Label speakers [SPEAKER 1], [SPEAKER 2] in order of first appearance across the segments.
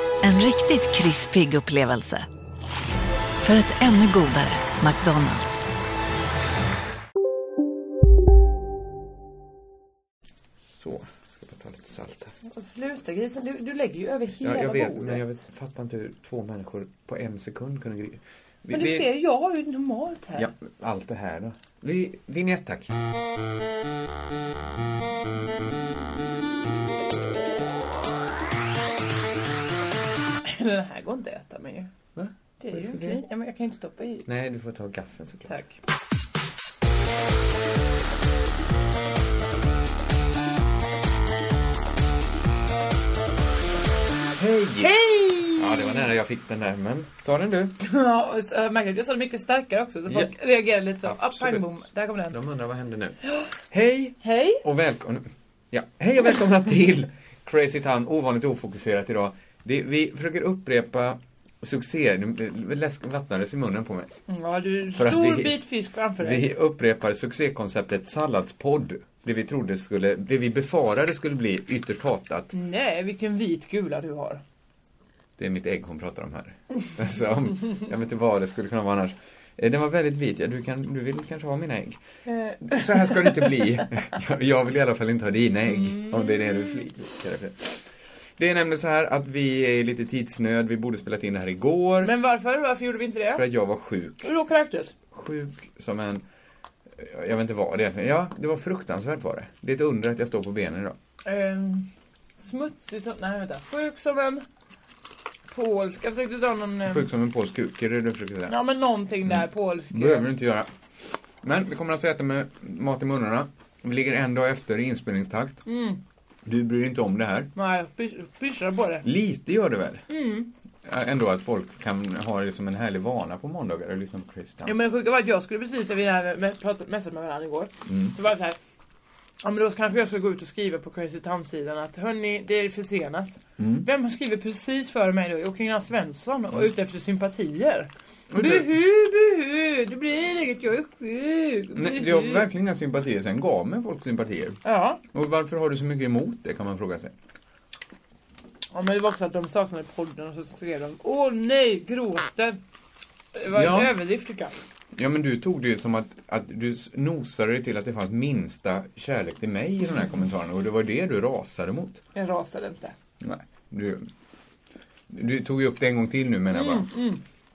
[SPEAKER 1] En riktigt krispig upplevelse. För ett ännu godare McDonalds.
[SPEAKER 2] Så, ska bara ta lite salt här.
[SPEAKER 3] Och Sluta grisen, du, du lägger ju över hela
[SPEAKER 2] Ja, jag vet, men
[SPEAKER 3] bordet.
[SPEAKER 2] jag vet, fattar inte hur två människor på en sekund kunde... gri- Vi,
[SPEAKER 3] Men du
[SPEAKER 2] vi-
[SPEAKER 3] ser, jag har ju normalt här.
[SPEAKER 2] Ja, allt det här då. Vi, vignett tack.
[SPEAKER 3] Den här går inte att äta med ju.
[SPEAKER 2] Va?
[SPEAKER 3] Det är
[SPEAKER 2] Varför
[SPEAKER 3] ju
[SPEAKER 2] det?
[SPEAKER 3] okej. Ja, men jag kan ju inte stoppa i.
[SPEAKER 2] Nej, du får ta gaffeln såklart.
[SPEAKER 3] Tack.
[SPEAKER 2] Hej!
[SPEAKER 3] Hej!
[SPEAKER 2] Ja, det var nära jag fick den där, men ta den du.
[SPEAKER 3] Ja, och så- jag märkte att jag sa det mycket starkare också så
[SPEAKER 2] Ja.
[SPEAKER 3] folk reagerar lite så. Ah,
[SPEAKER 2] Absolut.
[SPEAKER 3] pang bom, där kom den.
[SPEAKER 2] De undrar vad händer nu. Hej
[SPEAKER 3] Hej!
[SPEAKER 2] och välkomna... Ja, hej och välkomna till Crazy Town, ovanligt ofokuserat idag. Det, vi försöker upprepa succé... nu- Läsk vattnades i munnen på mig.
[SPEAKER 3] Ja, du
[SPEAKER 2] Mm, För att
[SPEAKER 3] stor
[SPEAKER 2] vi-
[SPEAKER 3] bit fisk framför dig.
[SPEAKER 2] Vi upprepar succékonceptet salladspodd. Det vi trodde skulle, det vi befarade skulle bli ytterst hatat.
[SPEAKER 3] Nej, vilken vit gula du har.
[SPEAKER 2] Det är mitt ägg hon pratar om här. Alltså, om, jag vet inte vad det skulle kunna vara annars. Eh, Den var väldigt vit, ja, du, kan, du vill kanske ha mina ägg?
[SPEAKER 3] Eh,
[SPEAKER 2] Så här ska det inte bli. Jag- Jag vill i alla fall inte ha dina ägg,
[SPEAKER 3] Mm.
[SPEAKER 2] om det är det du flikar efter. Det är nämligen så här att vi är i lite tidsnöd, vi borde spelat in det här igår.
[SPEAKER 3] Men varför? Varför gjorde vi inte
[SPEAKER 2] För
[SPEAKER 3] det?
[SPEAKER 2] att jag var sjuk.
[SPEAKER 3] Du låg och kräktes.
[SPEAKER 2] Sjuk som en... Jag vet inte vad det är. Ja, det var fruktansvärt var det. Det är ett under att jag står på benen idag.
[SPEAKER 3] Ehm, smutsig som... Nej, vänta. Sjuk som en polsk. Jag försökte dra någon... ehm,
[SPEAKER 2] Sjuk som en polsk kuk, är det det du försöker säga?
[SPEAKER 3] Ja, men någonting där polsk.
[SPEAKER 2] behöver du inte göra. Men vi kommer alltså äta med mat i munnarna. Vi ligger en dag efter i inspelningstakt.
[SPEAKER 3] Mm.
[SPEAKER 2] Du bryr dig inte om det här.
[SPEAKER 3] Nej, jag pysslar på det.
[SPEAKER 2] Lite gör det väl?
[SPEAKER 3] Mm.
[SPEAKER 2] Ä- Ändå att folk kan ha det som en härlig vana på måndagar och lyssna på Christian.
[SPEAKER 3] Ja, men det sjuka var att jag skulle precis när vi hade med- pratat- messat med varandra igår.
[SPEAKER 2] Mm.
[SPEAKER 3] Så var det så här. Ja men då kanske jag ska gå ut och skriva på Crazy Town-sidan att hörni, det är försenat.
[SPEAKER 2] Mm.
[SPEAKER 3] Vem har skrivit precis före mig då? Jo, Kringlan Svensson och ute efter sympatier.
[SPEAKER 2] Men
[SPEAKER 3] Buhu,
[SPEAKER 2] det-
[SPEAKER 3] buhu, det blir inget, jag är sjuk.
[SPEAKER 2] Nej,
[SPEAKER 3] buhu.
[SPEAKER 2] jag har verkligen inga sympatier. Sen gav mig folk sympatier.
[SPEAKER 3] Ja.
[SPEAKER 2] Och varför har du så mycket emot det kan man fråga sig.
[SPEAKER 3] ja, men det var också att de saknade podden och så skrev de Åh nej, gråten. Det var
[SPEAKER 2] Ja.
[SPEAKER 3] en överdrift tycker jag.
[SPEAKER 2] Ja men du tog det ju som att, att du s- nosade dig till att det fanns minsta kärlek till mig i den här kommentaren och det var det du rasade mot.
[SPEAKER 3] Jag rasade inte.
[SPEAKER 2] Nej, du, du tog ju upp det en gång till nu menar jag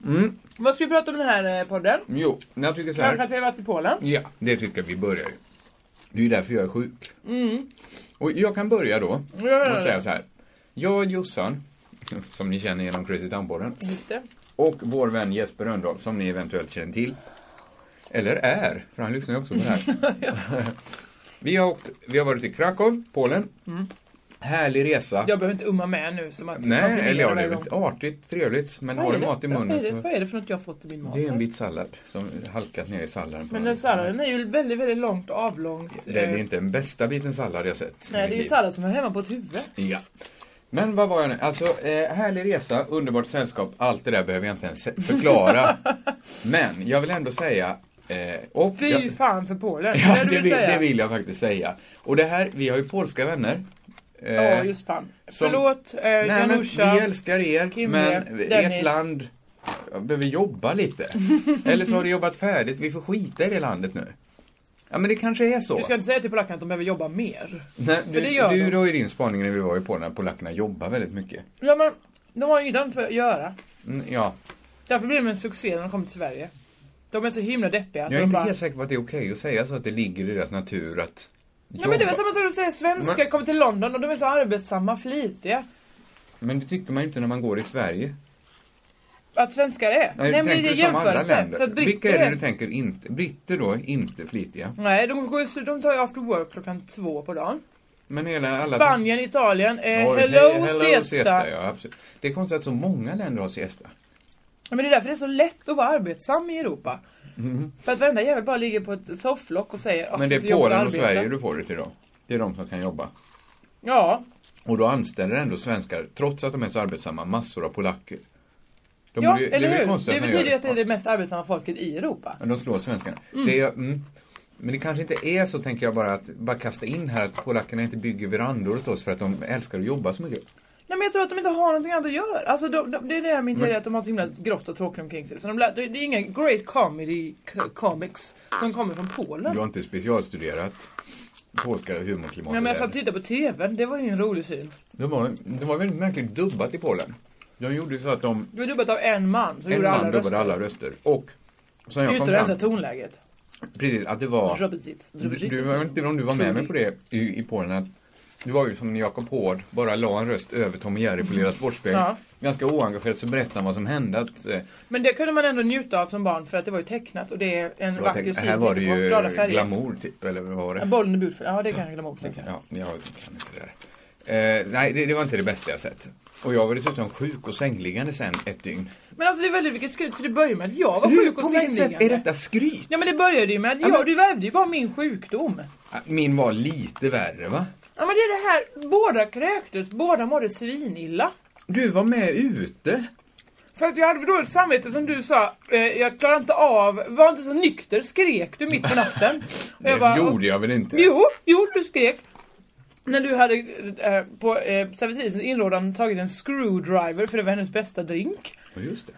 [SPEAKER 3] Mm,
[SPEAKER 2] bara.
[SPEAKER 3] Vad ska vi prata om i den här eh, podden?
[SPEAKER 2] Jo, jag tycker så
[SPEAKER 3] Kanske
[SPEAKER 2] här.
[SPEAKER 3] att vi har varit i Polen.
[SPEAKER 2] Ja, det tycker jag vi börjar ju. Det är ju därför jag är sjuk. Och jag kan börja då
[SPEAKER 3] Mm. Ja,
[SPEAKER 2] och säga så här. Jag, Jossan, som ni känner genom Crazy Town-podden,
[SPEAKER 3] Just det.
[SPEAKER 2] och vår vän Jesper Rönndahl, som ni eventuellt känner till. Eller är, för han lyssnar ju också på det här. vi, har åkt, vi har varit i Krakow, Polen.
[SPEAKER 3] Mm.
[SPEAKER 2] Härlig resa.
[SPEAKER 3] Jag behöver inte umma med nu som att
[SPEAKER 2] Nej, eller ja, det är
[SPEAKER 3] varje
[SPEAKER 2] väl
[SPEAKER 3] gång.
[SPEAKER 2] artigt, trevligt, men har
[SPEAKER 3] Vad är
[SPEAKER 2] du
[SPEAKER 3] det-
[SPEAKER 2] mat i
[SPEAKER 3] Vad
[SPEAKER 2] munnen
[SPEAKER 3] är, det,
[SPEAKER 2] så...
[SPEAKER 3] vad är det för något jag har fått i min mat?
[SPEAKER 2] Det är en bit sallad som halkat ner i salladen. på
[SPEAKER 3] Men
[SPEAKER 2] något
[SPEAKER 3] den
[SPEAKER 2] vis.
[SPEAKER 3] salladen är ju väldigt, väldigt långt och avlångt.
[SPEAKER 2] Det är
[SPEAKER 3] eh,
[SPEAKER 2] inte den bästa biten sallad jag sett. i
[SPEAKER 3] Nej,
[SPEAKER 2] mitt
[SPEAKER 3] det är ju
[SPEAKER 2] liv.
[SPEAKER 3] sallad som är hemma på ett huvud.
[SPEAKER 2] Ja. Men vad var jag nu? Alltså, eh, härlig resa, underbart sällskap, allt det där behöver jag inte ens se- förklara. men jag vill ändå säga... Eh, och
[SPEAKER 3] Fy
[SPEAKER 2] jag,
[SPEAKER 3] fan för Polen,
[SPEAKER 2] ja,
[SPEAKER 3] du
[SPEAKER 2] det, vill,
[SPEAKER 3] säga.
[SPEAKER 2] det vill jag faktiskt säga. Och det här, vi har ju polska vänner. Eh,
[SPEAKER 3] Ja, just fan.
[SPEAKER 2] som-
[SPEAKER 3] Förlåt, eh,
[SPEAKER 2] Nej, men
[SPEAKER 3] Janusza.
[SPEAKER 2] vi älskar er,
[SPEAKER 3] Kimme,
[SPEAKER 2] men ert
[SPEAKER 3] Dennis.
[SPEAKER 2] land behöver jobba lite. Eller så har du jobbat färdigt, vi får skita i det landet nu. Ja, men det kanske är så.
[SPEAKER 3] Du ska inte säga till polackerna att de behöver jobba mer.
[SPEAKER 2] Nej, du,
[SPEAKER 3] det gör
[SPEAKER 2] du
[SPEAKER 3] de.
[SPEAKER 2] då i din spaning när vi var i Polen, att polackerna jobbar väldigt mycket.
[SPEAKER 3] Ja, men de har ju inget annat att göra.
[SPEAKER 2] Mm, ja,
[SPEAKER 3] Därför blir de en succé när de kommer till Sverige. De är så himla deppiga. att
[SPEAKER 2] jag är
[SPEAKER 3] de
[SPEAKER 2] inte
[SPEAKER 3] bara,
[SPEAKER 2] helt säker på att det är okej att säga så, att det ligger i deras natur att
[SPEAKER 3] Ja men det var samma sak som att säga svenskar kommer till London och de är så arbetsamma, flitiga.
[SPEAKER 2] Men det tycker man ju inte när man går i Sverige.
[SPEAKER 3] Att svenskar är.
[SPEAKER 2] Nej,
[SPEAKER 3] Nej
[SPEAKER 2] du
[SPEAKER 3] men det
[SPEAKER 2] tänker
[SPEAKER 3] är
[SPEAKER 2] som andra
[SPEAKER 3] jämförelse.
[SPEAKER 2] länder.
[SPEAKER 3] För att britter
[SPEAKER 2] Vilka är det du
[SPEAKER 3] är...
[SPEAKER 2] tänker inte? Britter då, inte flitiga.
[SPEAKER 3] Nej, de, går, ju- de tar ju after work klockan två på dagen.
[SPEAKER 2] Men hela alla...
[SPEAKER 3] Spanien, Italien, eh,
[SPEAKER 2] Oj, hej,
[SPEAKER 3] hello,
[SPEAKER 2] siesta,
[SPEAKER 3] siesta.
[SPEAKER 2] ja, absolut. Det är konstigt att så många länder har siesta.
[SPEAKER 3] Men det är därför det är så lätt att vara arbetsam i Europa. För att varenda jävel bara ligger på ett sofflock och säger att
[SPEAKER 2] Mm-hmm. Men det
[SPEAKER 3] så
[SPEAKER 2] är
[SPEAKER 3] jobbigt att
[SPEAKER 2] Polen och
[SPEAKER 3] arbeta."
[SPEAKER 2] Sverige du får det till då. Det är de som kan jobba.
[SPEAKER 3] Ja,
[SPEAKER 2] Och då anställer ändå svenskar, trots att de är så arbetsamma, massor av polacker. De
[SPEAKER 3] ja
[SPEAKER 2] borde ju-
[SPEAKER 3] eller
[SPEAKER 2] är väl
[SPEAKER 3] hur?
[SPEAKER 2] konstigt
[SPEAKER 3] Det
[SPEAKER 2] att man
[SPEAKER 3] betyder ju
[SPEAKER 2] gör
[SPEAKER 3] att det är det mest arbetsamma folket i Europa.
[SPEAKER 2] Men de slår svenskarna. Det är, mm. Men det kanske inte är så, tänker jag bara, att bara kasta in här att polackerna inte bygger verandor åt oss för att de älskar att jobba så mycket.
[SPEAKER 3] Nej men jag tror att de inte har någonting annat att göra. Alltså de, de, det är det jag min teori
[SPEAKER 2] Men-
[SPEAKER 3] att de har så himla grått och tråkigt omkring sig. Så de, lär- det, det är inga great comedy co- comics som kommer från Polen.
[SPEAKER 2] Du har inte specialstuderat polska humorklimatet
[SPEAKER 3] Nej men jag
[SPEAKER 2] än.
[SPEAKER 3] satt och tittade på TVn, det var ju en rolig syn.
[SPEAKER 2] det, var, det var väldigt märkligt dubbat i Polen. De gjorde ju så att de,
[SPEAKER 3] Det var dubbat av en man som
[SPEAKER 2] en
[SPEAKER 3] gjorde
[SPEAKER 2] man
[SPEAKER 3] alla
[SPEAKER 2] dubbade
[SPEAKER 3] röster.
[SPEAKER 2] alla röster. Och, som jag kom
[SPEAKER 3] Utan att ändra
[SPEAKER 2] fram
[SPEAKER 3] tonläget.
[SPEAKER 2] precis, att det var...
[SPEAKER 3] Drubbigt.
[SPEAKER 2] Du,
[SPEAKER 3] Drubbigt.
[SPEAKER 2] du, jag vet inte om du var med mig på det i, i Polen. Att det var ju som när Jakob Hård bara la en röst över Tom och Jerry på Lilla Sportspegeln.
[SPEAKER 3] Ja.
[SPEAKER 2] Ganska oengagerat så berättade han vad som hände. Att, eh,
[SPEAKER 3] Men det kunde man ändå njuta av som barn för att det var ju tecknat och det är en
[SPEAKER 2] jag
[SPEAKER 3] vacker
[SPEAKER 2] tänkte,
[SPEAKER 3] syn.
[SPEAKER 2] här var det
[SPEAKER 3] tänk på glada
[SPEAKER 2] ju
[SPEAKER 3] färger.
[SPEAKER 2] glamour typ, eller vad var
[SPEAKER 3] Ja,
[SPEAKER 2] det?
[SPEAKER 3] Bollen i budfärg. Ja det kan jag glömma bort. tänker jag.
[SPEAKER 2] Ja, jag kan inte det där. Eh, nej, det, det var inte det bästa jag sett. Och jag var dessutom sjuk och sängliggande sen ett dygn.
[SPEAKER 3] Men alltså det är väldigt vilket skryt för det börjar med att jag var
[SPEAKER 2] Hur,
[SPEAKER 3] sjuk
[SPEAKER 2] på
[SPEAKER 3] och
[SPEAKER 2] vilket sätt är
[SPEAKER 3] sängliggande.
[SPEAKER 2] detta skryt?
[SPEAKER 3] Ja men det började ju med att
[SPEAKER 2] Ja, men-
[SPEAKER 3] jag, du värvde ju bara min sjukdom.
[SPEAKER 2] Ah, Min var lite värre va?
[SPEAKER 3] Ja men det är det här, båda kräktes, båda mådde svinilla.
[SPEAKER 2] Du var med ute.
[SPEAKER 3] För att jag hade dåligt samvete som du sa, eh, jag klarar inte av, var inte så nykter skrek du mitt på natten. Och
[SPEAKER 2] Det
[SPEAKER 3] jag bara,
[SPEAKER 2] gjorde jag väl inte?
[SPEAKER 3] Jo, jo du skrek. När du hade eh, på eh, servitrisens inrådan tagit en screwdriver för det var hennes bästa drink.
[SPEAKER 2] Ja, Just det.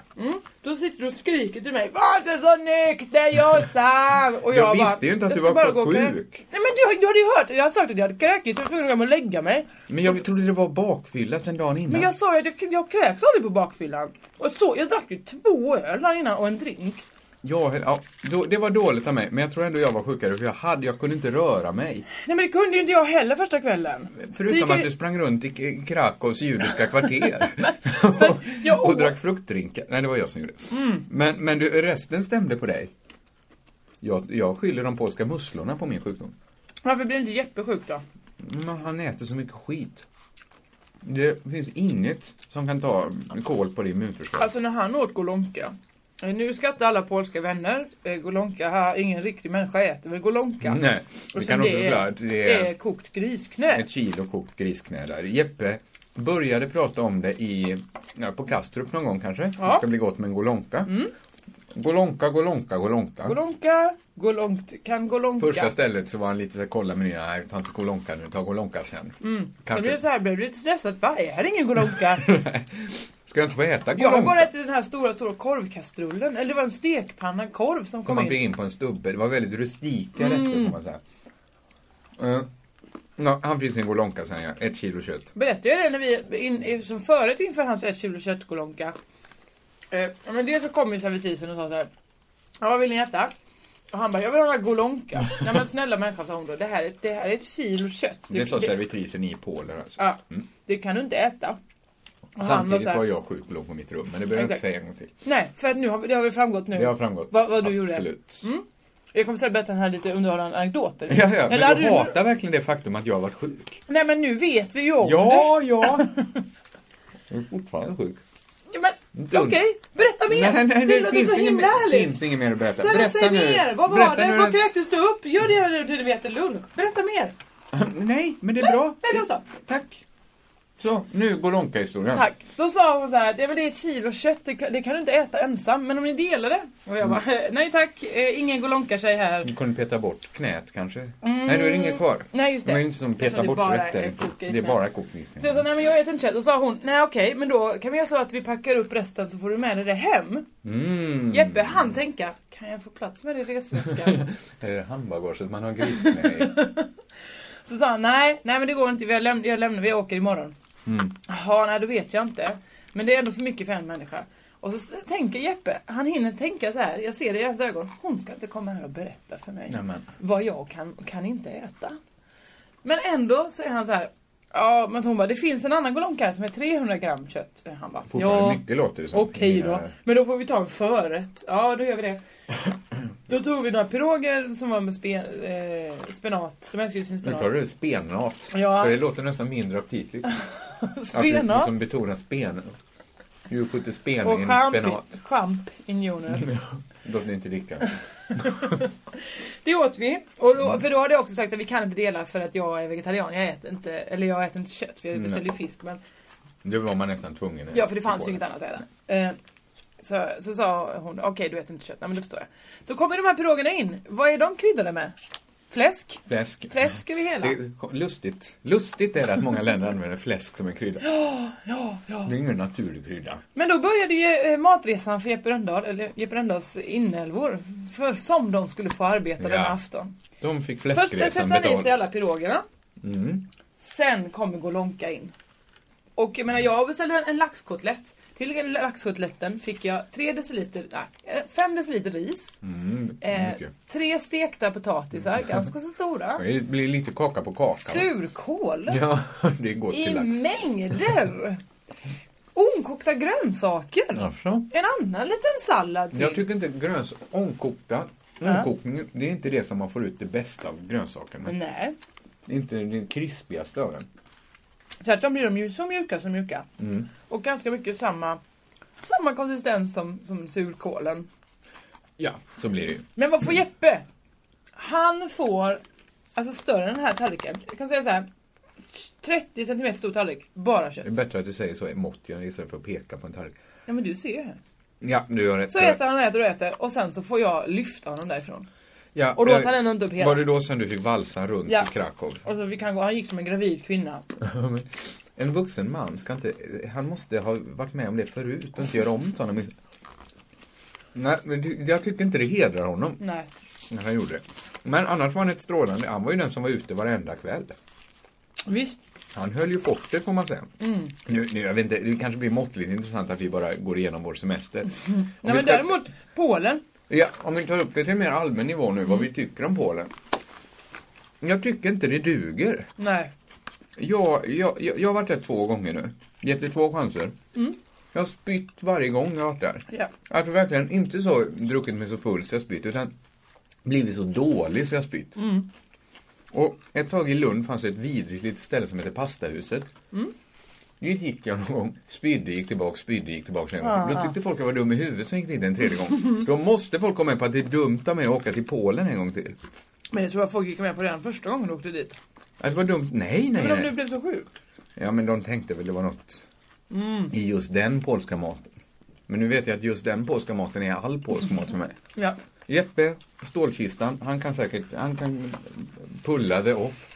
[SPEAKER 3] Då sitter du och skriker till mig Var inte så nykter Jossan! Och
[SPEAKER 2] Jag visste ju inte att
[SPEAKER 3] "Jag
[SPEAKER 2] du var
[SPEAKER 3] ska bara gå och krä-"
[SPEAKER 2] sjuk.
[SPEAKER 3] Nej men du, du hade ju hört, jag hade sagt att jag hade kräkit, jag var tvungen att gå och lägga mig.
[SPEAKER 2] Men jag trodde det var bakfylla sen dagen innan.
[SPEAKER 3] Men jag sa ju att jag, jag kräks aldrig på bakfyllan. Och så, jag drack ju två öl där innan och en drink.
[SPEAKER 2] Ja, ja, då, det var dåligt av mig, men jag tror ändå jag var sjukare för jag, hade, jag kunde inte röra mig.
[SPEAKER 3] Nej men det kunde ju inte jag heller första kvällen.
[SPEAKER 2] Förutom
[SPEAKER 3] Tycker-
[SPEAKER 2] att du sprang runt i K- Krakows judiska kvarter.
[SPEAKER 3] jag Mm.
[SPEAKER 2] och
[SPEAKER 3] åt-
[SPEAKER 2] drack fruktdrinkar. Nej, det var jag som gjorde det. Men, men du, resten stämde på dig. Jag, jag skyller de polska musslorna på min sjukdom.
[SPEAKER 3] Varför blir inte Jeppe sjuk då?
[SPEAKER 2] Men han äter så mycket skit. Det finns inget som kan ta kål på det immunförsvar.
[SPEAKER 3] Alltså när han åt Golonka. eh, Nu skrattar alla polska vänner. Eh, Golonka, här, ingen riktig människa äter väl Golonka.
[SPEAKER 2] Nej,
[SPEAKER 3] Och
[SPEAKER 2] vi
[SPEAKER 3] sen
[SPEAKER 2] kan också
[SPEAKER 3] det,
[SPEAKER 2] förklara
[SPEAKER 3] är,
[SPEAKER 2] att
[SPEAKER 3] det är kokt grisknä.
[SPEAKER 2] ett kilo kokt grisknä där. Jeppe började prata om det i, ja, på Kastrup någon gång kanske.
[SPEAKER 3] Ja. Mm.
[SPEAKER 2] Det ska bli gott med en golonka. Golonka, golonka, golonka.
[SPEAKER 3] Golonka, golonkt, kan golonka.
[SPEAKER 2] Första stället så var han lite så här, kolla menyn, nej ta inte golonka nu, ta golonka sen.
[SPEAKER 3] Sen blir
[SPEAKER 2] Kanske.
[SPEAKER 3] Mm. det så här, blev du lite stressad. Va, är det ingen golonka?
[SPEAKER 2] Ska jag inte få äta
[SPEAKER 3] jag har bara
[SPEAKER 2] golonka?
[SPEAKER 3] ätit den här stora, stora korvkastrullen. Eller det var en stekpanna korv som
[SPEAKER 2] Som
[SPEAKER 3] kom
[SPEAKER 2] man
[SPEAKER 3] in. Mm.
[SPEAKER 2] fick in på en stubbe. Det var väldigt rustika rätter får man säga. Eh, ja, han fick sin golonka sen ja, ett kilo kött.
[SPEAKER 3] Berättade jag det när vi, in, som förut inför hans ett kilo köttkolonka. Eh, ja, men dels så kom ju servitrisen och sa så här. Ja, vad vill ni äta? Och han bara, jag vill ha den här golonka. Nej men snälla människa sa hon då, det här, är- det här är ett kilo kött. Du-
[SPEAKER 2] Det sa
[SPEAKER 3] det-
[SPEAKER 2] servitrisen i Polen alltså.
[SPEAKER 3] Ja, det kan du inte äta. Och han var
[SPEAKER 2] Samtidigt
[SPEAKER 3] så här,
[SPEAKER 2] var jag sjuk och låg på mitt rum, men det behöver jag inte
[SPEAKER 3] Exakt.
[SPEAKER 2] säga en gång till.
[SPEAKER 3] Nej, för att nu har, det har väl framgått nu.
[SPEAKER 2] Det har framgått.
[SPEAKER 3] Eh, Vad- vad du gjorde? Mm.
[SPEAKER 2] Absolut.
[SPEAKER 3] Jag kommer säkert berätta den här lite underhållande anekdoter.
[SPEAKER 2] Ja, ja, men
[SPEAKER 3] Eller
[SPEAKER 2] du,
[SPEAKER 3] hade
[SPEAKER 2] hatar verkligen det faktum att jag har varit sjuk.
[SPEAKER 3] Nej men nu vet vi ju om det.
[SPEAKER 2] Ja, ja. Jag är fortfarande sjuk.
[SPEAKER 3] Ja, men
[SPEAKER 2] Inte
[SPEAKER 3] Okej,
[SPEAKER 2] ont.
[SPEAKER 3] berätta mer! det låter
[SPEAKER 2] finns
[SPEAKER 3] så
[SPEAKER 2] ingen-
[SPEAKER 3] himla härligt!
[SPEAKER 2] finns inget mer att berätta.
[SPEAKER 3] Ställ sig
[SPEAKER 2] nu.
[SPEAKER 3] ner! Vad var
[SPEAKER 2] Berätta
[SPEAKER 3] det?
[SPEAKER 2] nu
[SPEAKER 3] Vad kräktes du upp? Gör det när du vet en lunch. Berätta mer!
[SPEAKER 2] Ah, Nej, men det är bra.
[SPEAKER 3] Nej, det var så.
[SPEAKER 2] Tack. Så, nu går Lonka-historien.
[SPEAKER 3] Tack. Då sa hon så här, det är väl ett kilo kött, det kan, det kan du inte äta ensam, men om ni delar det? Och jag bara,
[SPEAKER 2] Mm.
[SPEAKER 3] nej tack, eh, ingen golonka sig här.
[SPEAKER 2] Du kunde peta bort knät kanske? Nej, då är det inget kvar.
[SPEAKER 3] Nej Mm. just
[SPEAKER 2] Det är
[SPEAKER 3] det.
[SPEAKER 2] inte som
[SPEAKER 3] Jag
[SPEAKER 2] peta
[SPEAKER 3] sa, det är
[SPEAKER 2] bort
[SPEAKER 3] bara
[SPEAKER 2] rätter.
[SPEAKER 3] ett kokis.
[SPEAKER 2] Det är bara kokis.
[SPEAKER 3] Så jag sa, nej men jag äter inte kött. Och sa hon, nej okej, men då kan vi göra så att vi packar upp resten så får du med dig det hem.
[SPEAKER 2] Mm.
[SPEAKER 3] Jeppe han tänka, kan jag få plats med det i resväskan?
[SPEAKER 2] Det är handbagaget man har grisknä i.
[SPEAKER 3] Så sa han, nej, nej men det går inte, vi har läm- jag lämnar, vi åker imorgon.
[SPEAKER 2] Mm.
[SPEAKER 3] Jaha, nej då vet jag inte. Men det är ändå för mycket för en människa. Och så s- tänker Jeppe, han hinner tänka så här, jag ser det i hans ögon, hon ska inte komma här och berätta för mig
[SPEAKER 2] Nämen.
[SPEAKER 3] vad jag kan och kan inte äta. Men ändå så är han så här. Ja, men så hon bara, det finns en annan golonka här som är 300 gram kött. Han bara,
[SPEAKER 2] Fortfarande
[SPEAKER 3] ja,
[SPEAKER 2] mycket låter det som.
[SPEAKER 3] okej
[SPEAKER 2] I mina-
[SPEAKER 3] då. Men då får vi ta en förrätt. Ja, då gör vi det. Då tog vi några piroger som var med spen, eh, spenat. De älskar ju sin
[SPEAKER 2] Nu
[SPEAKER 3] spenat.
[SPEAKER 2] tar du spenat.
[SPEAKER 3] Ja.
[SPEAKER 2] För det låter nästan mindre aptitligt. Att du
[SPEAKER 3] Spenat.
[SPEAKER 2] Som betonar spen. Du skjuter spen i
[SPEAKER 3] Och
[SPEAKER 2] en
[SPEAKER 3] champ-
[SPEAKER 2] spenat.
[SPEAKER 3] champinjoner.
[SPEAKER 2] Låt ni inte dricka.
[SPEAKER 3] Det åt vi. Och då, för då hade jag också sagt att vi kan inte dela för att jag är vegetarian. Jag äter inte, eller jag äter inte kött. Vi beställde ju fisk. Men,
[SPEAKER 2] Det var man nästan tvungen
[SPEAKER 3] ja, för det fanns ju
[SPEAKER 2] på.
[SPEAKER 3] inget annat att äta. Eh, Så, så sa hon, okej du äter inte kött. Nej men det förstår jag. Så kommer de här pirogerna in. Vad är de kryddade med? Fläsk?
[SPEAKER 2] Fläsk.
[SPEAKER 3] Fläsk över hela.
[SPEAKER 2] Det är lustigt. Lustigt är det att många länder använder fläsk som en krydda.
[SPEAKER 3] Ja, ja.
[SPEAKER 2] Det är ingen naturlig krydda.
[SPEAKER 3] Men då började ju eh, matresan för Jeppe Rönndahl, eller Jeppe Rönndahls inälvor. För som de skulle få arbeta
[SPEAKER 2] Ja.
[SPEAKER 3] denna afton.
[SPEAKER 2] De fick
[SPEAKER 3] Först ska
[SPEAKER 2] fläskresan
[SPEAKER 3] sätta i sig
[SPEAKER 2] betald.
[SPEAKER 3] alla pirogerna.
[SPEAKER 2] Mm.
[SPEAKER 3] Sen kommer Golonka in. Och jag menar, jag beställde en, en laxkotlett. Till den laxkotletten fick jag 3 deciliter, nej, 5 deciliter ris.
[SPEAKER 2] Mm.
[SPEAKER 3] Eh,
[SPEAKER 2] mycket. Mm.
[SPEAKER 3] tre stekta potatisar, ganska så stora.
[SPEAKER 2] Det blir lite kaka på kaka. va?
[SPEAKER 3] Surkål
[SPEAKER 2] Ja, det går
[SPEAKER 3] i
[SPEAKER 2] till lax.
[SPEAKER 3] mängder. Onkokta grönsaker.
[SPEAKER 2] Alltså.
[SPEAKER 3] En annan liten sallad till.
[SPEAKER 2] Jag tycker inte gröns... Ångkokta... Ångkokning, det är inte det som man får ut det bästa av grönsakerna.
[SPEAKER 3] Nej,
[SPEAKER 2] Det är inte den krispigaste av den.
[SPEAKER 3] tvärtom blir de ju så mjuka så mjuka.
[SPEAKER 2] Mm.
[SPEAKER 3] Och ganska mycket samma, samma konsistens som, som surkålen.
[SPEAKER 2] Ja, så blir det ju.
[SPEAKER 3] Men vad får Jeppe? Han får, alltså större än den här tallriken. Jag kan säga så här. 30 cm stor tallrik, bara kött.
[SPEAKER 2] Det är bättre att du säger så i mått jag istället för att peka på en tallrik.
[SPEAKER 3] Ja men du ser ju. här.
[SPEAKER 2] Ja, du gör rätt.
[SPEAKER 3] Så äter han och äter och äter och sen så får jag lyfta honom därifrån.
[SPEAKER 2] Ja,
[SPEAKER 3] Och då
[SPEAKER 2] jag-
[SPEAKER 3] tar han ändå upp hela.
[SPEAKER 2] Var det då sen du fick valsa runt
[SPEAKER 3] Ja.
[SPEAKER 2] i Krakow?
[SPEAKER 3] Och så vi kan gå, han gick som en gravid kvinna.
[SPEAKER 2] En vuxen man ska inte... Han måste ha varit med om det förut och inte göra om sådana misstag. Nej, men det- jag tycker inte det hedrar honom.
[SPEAKER 3] Nej.
[SPEAKER 2] när Han gjorde det. Men annars var han ett strålande... Han var ju den som var ute varenda kväll.
[SPEAKER 3] Visst.
[SPEAKER 2] Han höll ju fortet får man säga.
[SPEAKER 3] Mm.
[SPEAKER 2] Nu, nu, jag vet inte, det kanske blir måttligt intressant att vi bara går igenom vår semester. Om
[SPEAKER 3] Nej
[SPEAKER 2] vi
[SPEAKER 3] men
[SPEAKER 2] ska-
[SPEAKER 3] däremot Polen.
[SPEAKER 2] Ja, om vi tar upp det till en mer allmän nivå nu, vad vi tycker om Polen. Jag tycker inte det duger.
[SPEAKER 3] Nej.
[SPEAKER 2] Jag, jag, jag, jag har varit där två gånger nu. Gett det två chanser. Jag har spytt varje gång jag har varit där.
[SPEAKER 3] Mm. Ja.
[SPEAKER 2] Alltså verkligen inte så druckit mig så full så jag spytt, utan blivit så dålig så jag spytt.
[SPEAKER 3] Mm.
[SPEAKER 2] Och ett tag i Lund fanns det ett vidrigt litet ställe som heter Pastahuset.
[SPEAKER 3] Mm.
[SPEAKER 2] Dit gick jag någon gång, spydde, gick tillbaks, spydde, gick tillbaks en gång.
[SPEAKER 3] Ah.
[SPEAKER 2] Då tyckte folk jag var dum i huvudet som gick dit en tredje gång. Då måste folk komma med på att det är dumt av mig att åka till Polen en gång till.
[SPEAKER 3] Men jag tror att folk gick med på det redan första gången du åkte dit.
[SPEAKER 2] Att det var dumt? Nej, nej,
[SPEAKER 3] Men om du
[SPEAKER 2] nej.
[SPEAKER 3] blev så sjuk.
[SPEAKER 2] Ja, men de tänkte väl det var något
[SPEAKER 3] Mm.
[SPEAKER 2] i just den polska maten. Men nu vet jag att just den polska maten är all polsk mat för mig.
[SPEAKER 3] Ja.
[SPEAKER 2] Jeppe, stålkistan, han kan säkert, han kan pulla det off.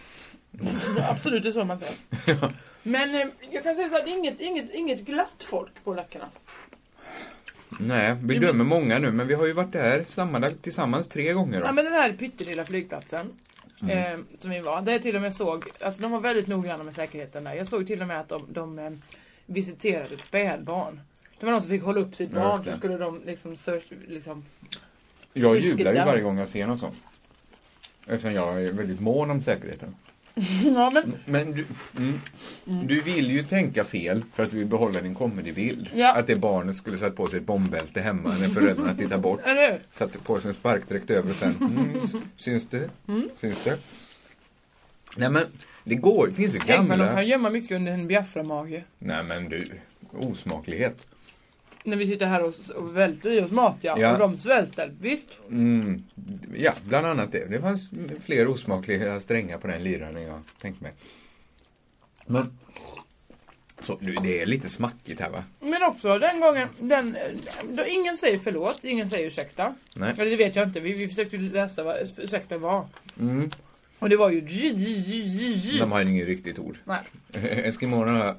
[SPEAKER 3] Absolut, det är så man säger. Men eh, jag kan säga så här, det är inget, inget, inget glatt folk på läckarna.
[SPEAKER 2] Nej, vi dömer många nu, men vi har ju varit där sammanlagt tillsammans tre gånger då.
[SPEAKER 3] Ja men den här pyttelilla flygplatsen
[SPEAKER 2] Mm.
[SPEAKER 3] eh, som vi var, där jag till och med såg, alltså de var väldigt noggranna med säkerheten där. Jag såg till och med att de, de eh, visiterade ett spädbarn. Det var någon som fick hålla upp sitt
[SPEAKER 2] Ja,
[SPEAKER 3] barn,
[SPEAKER 2] just det.
[SPEAKER 3] så skulle de liksom, search, liksom
[SPEAKER 2] jag
[SPEAKER 3] friskigt
[SPEAKER 2] jublar ju
[SPEAKER 3] där.
[SPEAKER 2] varje gång jag ser något sånt. Eftersom jag är väldigt mån om säkerheten.
[SPEAKER 3] Ja men,
[SPEAKER 2] Men du, mm, du vill ju tänka fel för att du vill behålla din comedybild.
[SPEAKER 3] Ja.
[SPEAKER 2] Att det barnet skulle sätta på sig ett bombbälte hemma när föräldrarna tittar bort.
[SPEAKER 3] eller hur?
[SPEAKER 2] Satte på sig en sparkdräkt över och sen, mm, s- syns det?
[SPEAKER 3] Mm.
[SPEAKER 2] Syns det? Nej men, det går, det finns ju
[SPEAKER 3] Tänk men
[SPEAKER 2] gamla...
[SPEAKER 3] de kan gömma mycket under en Biafra-mage.
[SPEAKER 2] Nej men du, osmaklighet.
[SPEAKER 3] När vi sitter här och, och välter i oss mat ja,
[SPEAKER 2] Ja.
[SPEAKER 3] och de svälter. Visst?
[SPEAKER 2] Mm, ja, bland annat det. Det fanns fler osmakliga strängar på den liraren än jag tänkte mig. Men... Så, du, det är lite smackigt här va?
[SPEAKER 3] Men också den gången, den, då ingen säger förlåt, ingen säger ursäkta.
[SPEAKER 2] Nej.
[SPEAKER 3] Eller det vet jag inte, vi, vi försökte ju läsa vad ursäkta var.
[SPEAKER 2] Mm.
[SPEAKER 3] Och det var ju j, j, j, j, j.
[SPEAKER 2] De har ju inget riktigt ord.
[SPEAKER 3] Nej.
[SPEAKER 2] Eskimoerna har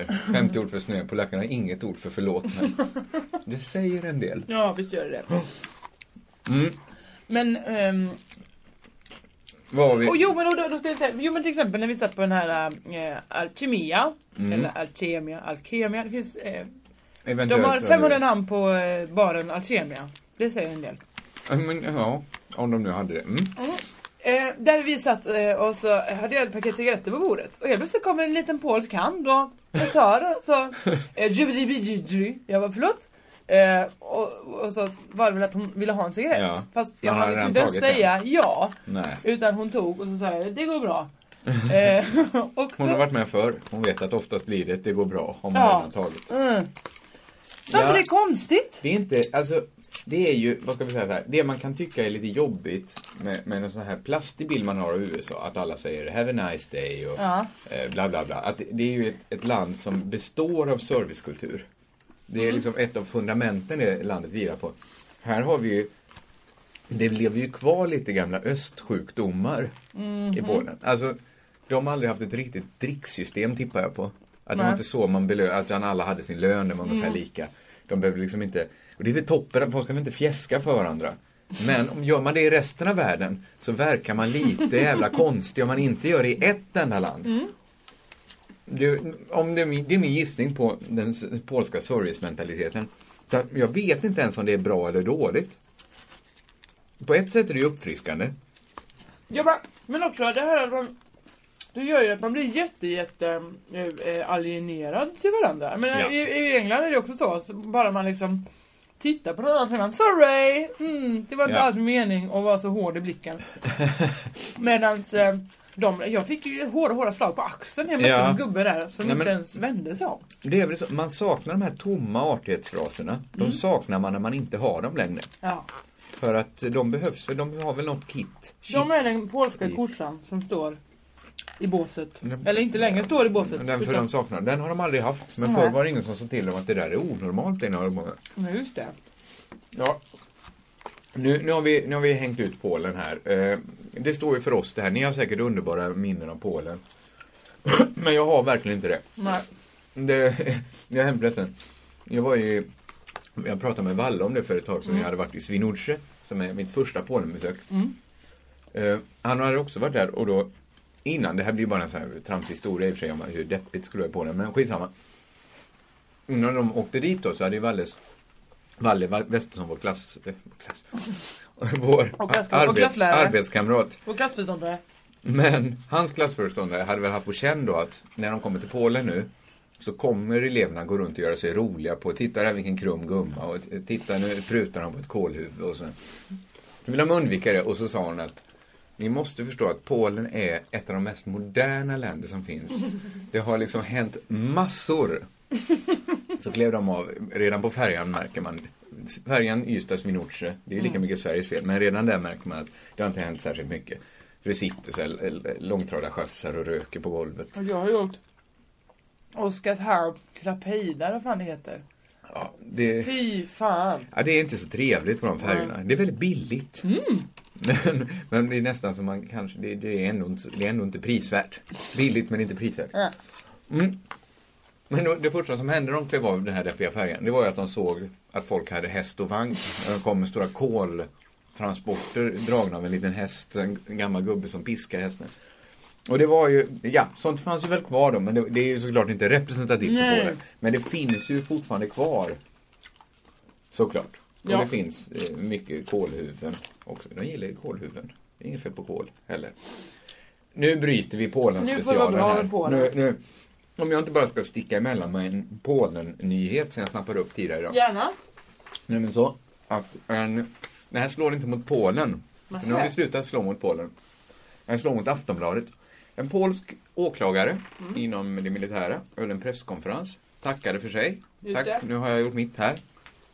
[SPEAKER 2] eh, 50 ord för snö, polackerna har inget ord för förlåt. Men det säger en del.
[SPEAKER 3] Ja, visst gör det det
[SPEAKER 2] Mm.
[SPEAKER 3] Men, ehm,
[SPEAKER 2] Vad har vi?
[SPEAKER 3] och jo men då, då ska jag säga, jo men till exempel när vi satt på den här äh, Alkemia,
[SPEAKER 2] Mm.
[SPEAKER 3] eller Alkemia, Alkemia, det finns, eh, de
[SPEAKER 2] Eventuellt
[SPEAKER 3] har 500 namn på eh, baren Alkemia. Det säger en del.
[SPEAKER 2] Ja, Men, ja, om de nu hade det. Mm.
[SPEAKER 3] Eh, där vi satt eh, och så hade jag ett paket cigaretter på bordet. Och helt plötsligt kommer en liten polsk hand och jag tar och så... Eh, djubidjubidjubidju. jag var förlåt? Eh, och, och så var det väl att hon ville ha en cigarett.
[SPEAKER 2] Ja.
[SPEAKER 3] Fast jag
[SPEAKER 2] Men hon
[SPEAKER 3] hann
[SPEAKER 2] hade
[SPEAKER 3] liksom
[SPEAKER 2] redan
[SPEAKER 3] inte ens
[SPEAKER 2] tagit
[SPEAKER 3] säga ja.
[SPEAKER 2] Nej.
[SPEAKER 3] Utan hon tog och så sa jag, det går bra. Eh, och
[SPEAKER 2] Hon
[SPEAKER 3] då-
[SPEAKER 2] har varit med förr. Hon vet att oftast blir det, det går bra om man
[SPEAKER 3] Ja.
[SPEAKER 2] redan tagit.
[SPEAKER 3] Mm. Så inte
[SPEAKER 2] Ja.
[SPEAKER 3] det är konstigt.
[SPEAKER 2] Det är inte, alltså, det är ju, vad ska vi säga så här, det man kan tycka är lite jobbigt med, med en sån här plastig bild man har av USA, att alla säger have a nice day och
[SPEAKER 3] Ja.
[SPEAKER 2] eh, bla bla bla. Att det, det är ju ett, ett land som består av servicekultur. Det är
[SPEAKER 3] Mm.
[SPEAKER 2] liksom ett av fundamenten det landet vilar på. Här har vi ju, det lever ju kvar lite gamla östsjukdomar i Polen. Alltså, de har aldrig haft ett riktigt dricksystem tippar jag på. Att det var
[SPEAKER 3] Nej.
[SPEAKER 2] inte så man belönade, att alla hade sin lön, den var ungefär lika. De behövde liksom inte, och det är väl toppen att folk ska väl inte fjäska för varandra. Men om gör man det i resten av världen så verkar man lite jävla konstig om man inte gör det i ett enda land. Det, om det, är min- det är min gissning på den s- polska servicementaliteten. Så att Jag vet inte ens om det är bra eller dåligt. På ett sätt är det ju uppfriskande.
[SPEAKER 3] Ja, men, men också det här att man... Det gör ju att man blir jätte, jätte eh, eh, alienerad till varandra. Men
[SPEAKER 2] Ja.
[SPEAKER 3] i, i England är det också så, så bara man liksom tittar på någon annan sidan, sorry! Mm, det var inte
[SPEAKER 2] Ja.
[SPEAKER 3] alls mening att vara så hård i blicken. Medans eh, de, jag fick ju hårda, hårda slag på axeln när jag mötte
[SPEAKER 2] Ja.
[SPEAKER 3] en gubbe där som
[SPEAKER 2] Nej,
[SPEAKER 3] inte
[SPEAKER 2] men-
[SPEAKER 3] ens vände sig om.
[SPEAKER 2] Det är väl så, man saknar de här tomma artighetsfraserna. De saknar man när man inte har dem längre.
[SPEAKER 3] Ja.
[SPEAKER 2] För att de behövs, väl, de har väl något kit. Shit.
[SPEAKER 3] De är den polska
[SPEAKER 2] Shit.
[SPEAKER 3] korsan som står i båset.
[SPEAKER 2] Den-
[SPEAKER 3] Eller inte längre står i båset.
[SPEAKER 2] Den, för
[SPEAKER 3] utan-
[SPEAKER 2] de saknar, den har de aldrig haft. Men
[SPEAKER 3] Nej.
[SPEAKER 2] förr var det ingen som sa till dem att det där är onormalt. Det är normalt.
[SPEAKER 3] Nej, just det.
[SPEAKER 2] Ja. Nu, nu, har vi, nu har vi hängt ut Polen här. Eh, det står ju för oss det här. Ni har säkert underbara minnen av Polen. Men jag har verkligen inte det.
[SPEAKER 3] Nej.
[SPEAKER 2] det jag är hemskt ledsen. Jag var ju... Jag pratade med Valle om det för ett tag
[SPEAKER 3] Mm.
[SPEAKER 2] sedan. Jag hade varit i Swinoujscie, som är mitt första Polenbesök. Eh, han hade också varit där och då innan, det här blir bara en sån här tramshistoria i och för sig om hur deppigt det skulle vara i Polen, men skitsamma. Innan de åkte dit då så hade ju Valles, Valle Va- Westesson, vår klass, eh, klass vår
[SPEAKER 3] Och klass- och
[SPEAKER 2] arbets,
[SPEAKER 3] klasslärare.
[SPEAKER 2] arbetskamrat.
[SPEAKER 3] Och klassföreståndare.
[SPEAKER 2] Men hans klassföreståndare hade väl haft på känn då att när de kommer till Polen nu så kommer eleverna gå runt och göra sig roliga på titta där vilken krum gumma och titta nu prutar de på ett kålhuvud och så. Då vill de undvika det och så sa hon att ni måste förstå att Polen är ett av de mest moderna länder som finns. Det har liksom hänt massor. Så klev de av, redan på färjan märker man, färjan Ystad-Swinoujscie, det är ju lika mycket Sveriges fel, men redan där märker man att det har inte hänt särskilt mycket. För det sitter så här l- långtradarchaufförer och röker på golvet.
[SPEAKER 3] Och Jag har gjort Oskarshamn Klapeida, vad fan det heter.
[SPEAKER 2] Ja, det,
[SPEAKER 3] Fy fan.
[SPEAKER 2] ja, det är inte så trevligt på de färjorna. Det är väldigt billigt.
[SPEAKER 3] Mm.
[SPEAKER 2] Men, men det är nästan som man kanske, det, det, är ändå inte, det är ändå inte prisvärt. Billigt men inte prisvärt.
[SPEAKER 3] Ja.
[SPEAKER 2] Mm. Men då, det första som hände när de klev av den här deppiga färjan, det var ju att de såg att folk hade häst och vagn. Och De kom med stora koltransporter dragna av en liten häst, en gammal gubbe som piskade hästen. Och det var ju, ja, sånt fanns ju väl kvar då, men det, det är ju såklart inte representativt
[SPEAKER 3] Nej.
[SPEAKER 2] för Polen. Men det finns ju fortfarande kvar. Såklart. Och
[SPEAKER 3] Ja.
[SPEAKER 2] det finns eh, mycket kolhuvuden också. De gillar ju kolhuvuden. Det är inget fel på kol heller. Nu bryter vi Polen
[SPEAKER 3] Nu får det vara
[SPEAKER 2] specialen
[SPEAKER 3] bra
[SPEAKER 2] här.
[SPEAKER 3] med Polen.
[SPEAKER 2] Nu, nu, om jag inte bara ska sticka emellan med en Polen-nyhet som jag snappade upp tidigare idag.
[SPEAKER 3] Gärna.
[SPEAKER 2] Nej men så. Att en, det här slår inte mot Polen. För nu har vi slutat slå mot Polen. Den slår mot Aftonbladet. En polsk åklagare
[SPEAKER 3] Mm.
[SPEAKER 2] inom det militära höll en presskonferens. Tackade för sig.
[SPEAKER 3] Just
[SPEAKER 2] Tack,
[SPEAKER 3] det.
[SPEAKER 2] nu har jag gjort mitt här.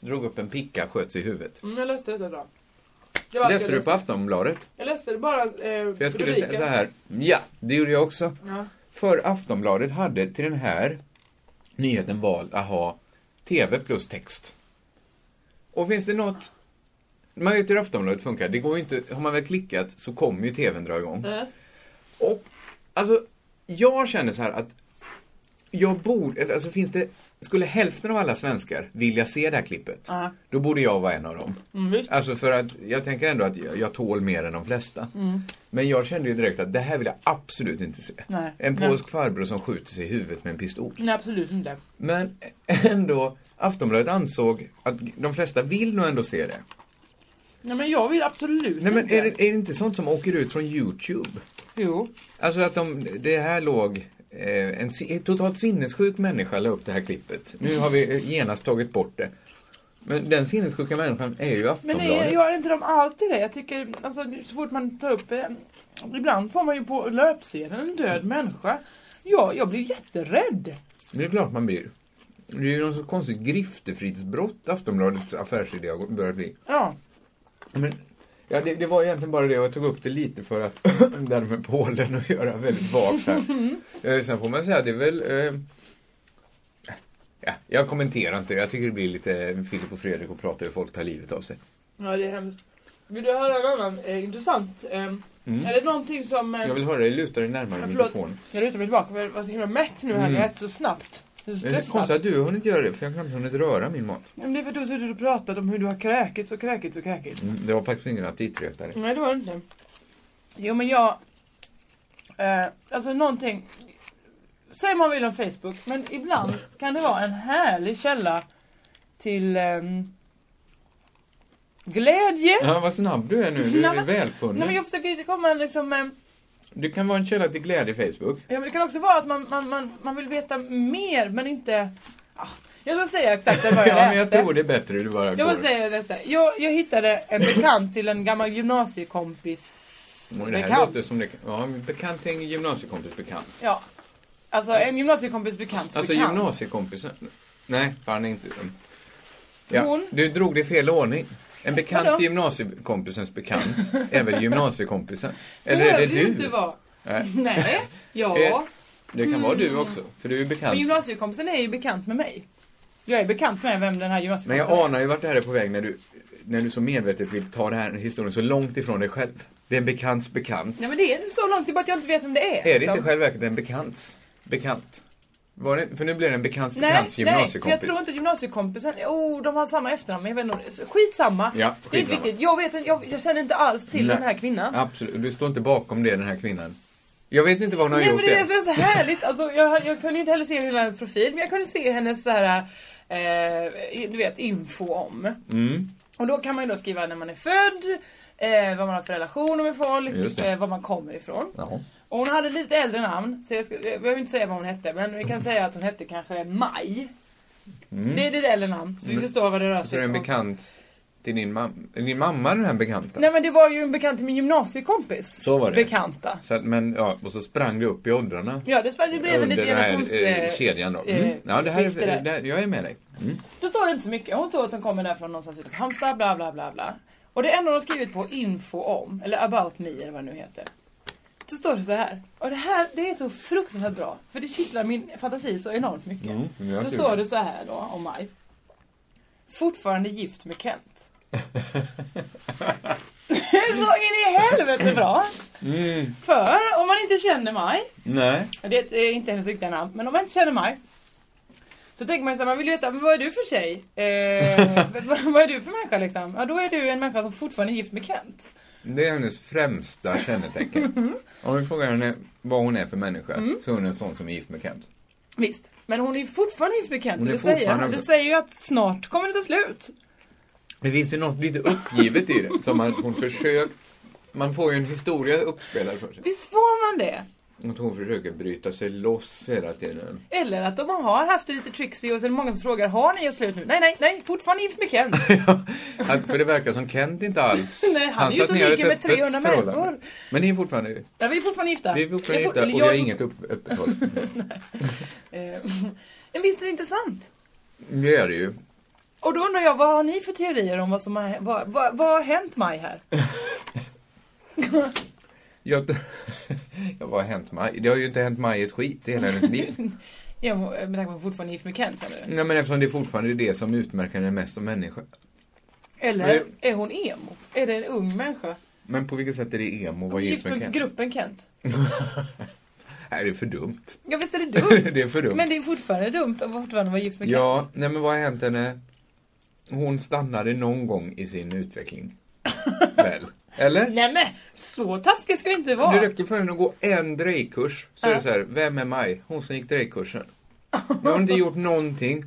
[SPEAKER 2] Drog upp en picka, sköts i huvudet.
[SPEAKER 3] Mm, jag läste detta idag. Det var allt
[SPEAKER 2] Läste
[SPEAKER 3] jag,
[SPEAKER 2] du på
[SPEAKER 3] läste.
[SPEAKER 2] Aftonbladet?
[SPEAKER 3] jag läste bara eh,
[SPEAKER 2] För jag skulle
[SPEAKER 3] Mm. rubriken.
[SPEAKER 2] säga så här. Ja, det gjorde jag också.
[SPEAKER 3] Ja.
[SPEAKER 2] För Aftonbladet hade till den här nyheten valt att ha TV plus text. Och finns det något... Man vet ju hur Aftonbladet funkar. Det går ju inte... Har man väl klickat så kommer ju TVn dra igång.
[SPEAKER 3] Nej.
[SPEAKER 2] Och alltså, jag känner så här att jag borde... Alltså finns det... Skulle hälften av alla svenskar vilja se det här klippet,
[SPEAKER 3] Ja.
[SPEAKER 2] då borde jag vara en av dem.
[SPEAKER 3] Mm, visst.
[SPEAKER 2] Alltså för att jag tänker ändå att jag, jag tål mer än de flesta.
[SPEAKER 3] Mm.
[SPEAKER 2] Men jag kände ju direkt att det här vill jag absolut inte se.
[SPEAKER 3] Nej.
[SPEAKER 2] En
[SPEAKER 3] Nej.
[SPEAKER 2] polsk farbror som skjuter sig i huvudet med en pistol.
[SPEAKER 3] Nej, absolut inte.
[SPEAKER 2] Men ändå, Aftonbladet ansåg att de flesta vill nog ändå se det.
[SPEAKER 3] Nej men jag vill absolut
[SPEAKER 2] Nej men
[SPEAKER 3] inte.
[SPEAKER 2] är det, är det inte sånt som åker ut från Youtube?
[SPEAKER 3] Jo.
[SPEAKER 2] Alltså att de, det här låg, eh, en si- en totalt sinnessjuk människa la upp det här klippet. Nu har vi eh, genast tagit bort det. Men den sinnessjuka människan är ju
[SPEAKER 3] Men
[SPEAKER 2] Aftonbladet.
[SPEAKER 3] är, jag är inte de alltid det? Jag tycker, alltså, så fort man tar upp eh, Ibland får man ju på löpsedeln en död människa. Ja, jag blir jätterädd.
[SPEAKER 2] Men det är klart man blir. Det är ju något så konstigt griftefridsbrott Aftonbladets affärsidé har börjat bli.
[SPEAKER 3] Ja.
[SPEAKER 2] Men, ja, det, det var egentligen bara det och jag tog upp det lite för att det hade med Polen att göra väldigt vagt här.
[SPEAKER 3] Mm.
[SPEAKER 2] Eh, Sen får man säga, det är väl... Eh, ja, jag kommenterar inte det. Jag tycker det blir lite Filip och Fredrik och prata hur folk tar livet av sig.
[SPEAKER 3] Ja, det är hemskt. Vill du höra en annan eh, intressant? Eh, Är det någonting som... Eh,
[SPEAKER 2] Mm. Jag vill höra dig luta dig närmare
[SPEAKER 3] Ja, förlåt.
[SPEAKER 2] mikrofonen.
[SPEAKER 3] Jag lutar mig tillbaka för jag var så himla mätt nu här.
[SPEAKER 2] Mm.
[SPEAKER 3] Jag äter så snabbt. Jag är så
[SPEAKER 2] Men Det är konstigt
[SPEAKER 3] stressad.
[SPEAKER 2] att du har hunnit göra det, för jag har knappt hunnit röra min mat.
[SPEAKER 3] Men Det är för att du har suttit och pratat om hur du har kräkits och kräkits och kräkits.
[SPEAKER 2] Mm, Det var faktiskt ingen aptitretare.
[SPEAKER 3] Nej, det var det inte. Jo, men jag... Eh, alltså någonting... Säg man vill om Facebook, men ibland kan det vara en härlig källa till ehm, glädje.
[SPEAKER 2] Ja, vad snabb du är nu. Du
[SPEAKER 3] Nej,
[SPEAKER 2] är
[SPEAKER 3] men- Nej, men
[SPEAKER 2] välfunnen.
[SPEAKER 3] jag försöker inte komma liksom... Eh,
[SPEAKER 2] Det kan vara en källa till glädje i Facebook.
[SPEAKER 3] Ja, men det kan också vara att man, man, man, man vill veta mer men inte... Ah, jag ska säga exakt vad jag
[SPEAKER 2] Ja, men jag
[SPEAKER 3] läste.
[SPEAKER 2] tror det är bättre du bara
[SPEAKER 3] jag
[SPEAKER 2] går.
[SPEAKER 3] vill säga det nästa. Jag, jag hittade en bekant till en gammal gymnasiekompis
[SPEAKER 2] Oj, det här
[SPEAKER 3] bekant.
[SPEAKER 2] låter som det, ja, men bekant till en gymnasiekompis bekant.
[SPEAKER 3] Ja. Alltså en gymnasiekompis bekant
[SPEAKER 2] Alltså
[SPEAKER 3] bekant.
[SPEAKER 2] gymnasiekompisen. Nej, fan inte. Ja,
[SPEAKER 3] Hon-
[SPEAKER 2] Du drog det i fel ordning. En bekant
[SPEAKER 3] Vadå?
[SPEAKER 2] till gymnasiekompisens bekant är väl gymnasiekompisen? Eller
[SPEAKER 3] Behöver
[SPEAKER 2] är det
[SPEAKER 3] ju inte
[SPEAKER 2] du?
[SPEAKER 3] vara.
[SPEAKER 2] Nej.
[SPEAKER 3] Nej. Ja.
[SPEAKER 2] Eh, Det kan vara
[SPEAKER 3] Mm.
[SPEAKER 2] du också, för du är
[SPEAKER 3] Men
[SPEAKER 2] bekant.
[SPEAKER 3] gymnasiekompisen är ju bekant med mig. Jag är bekant med vem den här
[SPEAKER 2] Men jag
[SPEAKER 3] gymnasiekompisen är.
[SPEAKER 2] anar ju vart det här är på väg när du, när du så medvetet vill ta den här historien så långt ifrån dig själv. Det är en bekants bekant.
[SPEAKER 3] Nej men det är inte så långt, det är bara att jag inte vet vem det är.
[SPEAKER 2] Är det
[SPEAKER 3] liksom.
[SPEAKER 2] inte i själva verket en bekants bekant? Var det, för nu blir det en bekants
[SPEAKER 3] Nej,
[SPEAKER 2] bekants
[SPEAKER 3] nej, för jag
[SPEAKER 2] gymnasiekompis.
[SPEAKER 3] tror inte gymnasiekompisen, oh de har samma efternamn, men jag vet inte, om det är- skitsamma.
[SPEAKER 2] Ja,
[SPEAKER 3] Det är inte
[SPEAKER 2] skitsamma.
[SPEAKER 3] viktigt, jag, vet, inte- jag, jag känner inte alls till
[SPEAKER 2] Nej.
[SPEAKER 3] den här kvinnan.
[SPEAKER 2] Absolut, du står inte bakom det den här kvinnan. Jag vet inte vad hon har
[SPEAKER 3] Nej men
[SPEAKER 2] gjort
[SPEAKER 3] det är det
[SPEAKER 2] än.
[SPEAKER 3] som är så härligt, alltså, jag, jag kunde ju inte heller se hela hennes profil, men jag kunde se hennes så här, eh, du vet, info om.
[SPEAKER 2] Mm.
[SPEAKER 3] Och då kan man ju då skriva när man är född, eh, vad man har för relationer med
[SPEAKER 2] Just
[SPEAKER 3] folk,
[SPEAKER 2] det.
[SPEAKER 3] eh, var man kommer ifrån.
[SPEAKER 2] Jaha.
[SPEAKER 3] Och hon hade lite äldre namn, så jag, ska, jag behöver inte säga vad hon hette, men vi
[SPEAKER 2] Mm.
[SPEAKER 3] kan säga att hon hette kanske Maj. Det är lite äldre namn, så vi
[SPEAKER 2] Mm.
[SPEAKER 3] förstår vad det rör
[SPEAKER 2] Så
[SPEAKER 3] sig
[SPEAKER 2] är det en
[SPEAKER 3] om.
[SPEAKER 2] bekant till din mamma, din mamma den här bekanta?
[SPEAKER 3] Nej men det var ju en bekant till min gymnasiekompis.
[SPEAKER 2] Så var det.
[SPEAKER 3] Bekanta.
[SPEAKER 2] Så att, men, ja, och så sprang du upp i åldrarna.
[SPEAKER 3] Ja, det, sp- det blev en
[SPEAKER 2] under
[SPEAKER 3] liten
[SPEAKER 2] den
[SPEAKER 3] generations...
[SPEAKER 2] här eh,
[SPEAKER 3] Eh,
[SPEAKER 2] kedjan då.
[SPEAKER 3] eh,
[SPEAKER 2] Mm. Ja, det här,
[SPEAKER 3] skifte
[SPEAKER 2] är-
[SPEAKER 3] där.
[SPEAKER 2] det här, jag är med dig. Mm.
[SPEAKER 3] Då står det inte så mycket. Hon står att hon kommer därifrån någonstans utanför Halmstad, bla bla bla bla. Och det enda hon har skrivit på info om, eller about me eller vad det nu heter. Så står det så här. Och det här, det är så fruktansvärt bra. För det kittlar min fantasi så enormt mycket.
[SPEAKER 2] Mm, men jag
[SPEAKER 3] Då
[SPEAKER 2] tror
[SPEAKER 3] står
[SPEAKER 2] det.
[SPEAKER 3] det så här då, om mig. Fortfarande gift med Kent. Det är så in i helvete bra!
[SPEAKER 2] Mm.
[SPEAKER 3] För om man inte känner mig
[SPEAKER 2] Nej.
[SPEAKER 3] det är inte hennes riktiga namn, men om man inte känner mig så tänker man ju så här, man vill ju veta, men vad är du för tjej? Eh, vad- vad är du för människa liksom? Ja, då är du en människa som fortfarande är gift med Kent.
[SPEAKER 2] Det är hennes främsta kännetecken. Om vi frågar henne vad hon är för människa
[SPEAKER 3] Mm.
[SPEAKER 2] så är hon en sån som är gift med Kent.
[SPEAKER 3] Visst, men hon är ju fortfarande gift med Kent.
[SPEAKER 2] Hon är
[SPEAKER 3] Det säger,
[SPEAKER 2] fortfarande-
[SPEAKER 3] det säger ju att snart kommer det ta slut.
[SPEAKER 2] Det finns ju något lite uppgivet i det, som att hon försökt... Man får ju en historia uppspelad för sig.
[SPEAKER 3] Visst får man det?
[SPEAKER 2] Att hon försöker bryta sig loss hela tiden.
[SPEAKER 3] Eller att de har haft det lite tricksy och så är det många som frågar, har ni gjort slut nu? Nej, nej, nej, fortfarande gift med Kent.
[SPEAKER 2] Att, för det verkar som Kent inte alls...
[SPEAKER 3] Nej, han är ju
[SPEAKER 2] sa att
[SPEAKER 3] ute och
[SPEAKER 2] ni har
[SPEAKER 3] ligger
[SPEAKER 2] ett
[SPEAKER 3] med
[SPEAKER 2] öppet
[SPEAKER 3] 300
[SPEAKER 2] förhållande.
[SPEAKER 3] människor.
[SPEAKER 2] Men ni är fortfarande...
[SPEAKER 3] Ja, vi är fortfarande gifta.
[SPEAKER 2] Vi är fortfarande
[SPEAKER 3] Jag
[SPEAKER 2] gifta
[SPEAKER 3] får-
[SPEAKER 2] och vi
[SPEAKER 3] jag-
[SPEAKER 2] har inget upp, öppet förhållande.
[SPEAKER 3] Eh, Men visst är det intressant?
[SPEAKER 2] Det är det ju.
[SPEAKER 3] Och då undrar jag, vad har ni för teorier om vad som har, vad, vad, vad har hänt Maj här?
[SPEAKER 2] Jag, jag vad har hänt Maj? Det har ju inte hänt Maj ett skit i hela hennes liv.
[SPEAKER 3] Ja, med tanke på att hon fortfarande är gift med Kent, menar du?
[SPEAKER 2] Nej, men eftersom det är fortfarande det som utmärker henne mest som människa.
[SPEAKER 3] Eller
[SPEAKER 2] Nej.
[SPEAKER 3] är hon emo? Är det en ung människa?
[SPEAKER 2] Men på vilket sätt är det emo att vara gift med Kent?
[SPEAKER 3] gruppen Kent?
[SPEAKER 2] Nej, det är för dumt.
[SPEAKER 3] Ja, visst är det dumt?
[SPEAKER 2] Det är för dumt.
[SPEAKER 3] Men det är fortfarande dumt att fortfarande vara gift med
[SPEAKER 2] Ja,
[SPEAKER 3] Kent.
[SPEAKER 2] nej men vad har hänt henne? Hon stannade någon gång i sin utveckling. Väl? Eller?
[SPEAKER 3] Nej men, så taskig ska vi inte vara.
[SPEAKER 2] Det räcker för henne att gå en drejkurs. Så är
[SPEAKER 3] Ja.
[SPEAKER 2] det så här, vem är Maj? Hon som gick drejkursen. Nu har hon inte gjort någonting.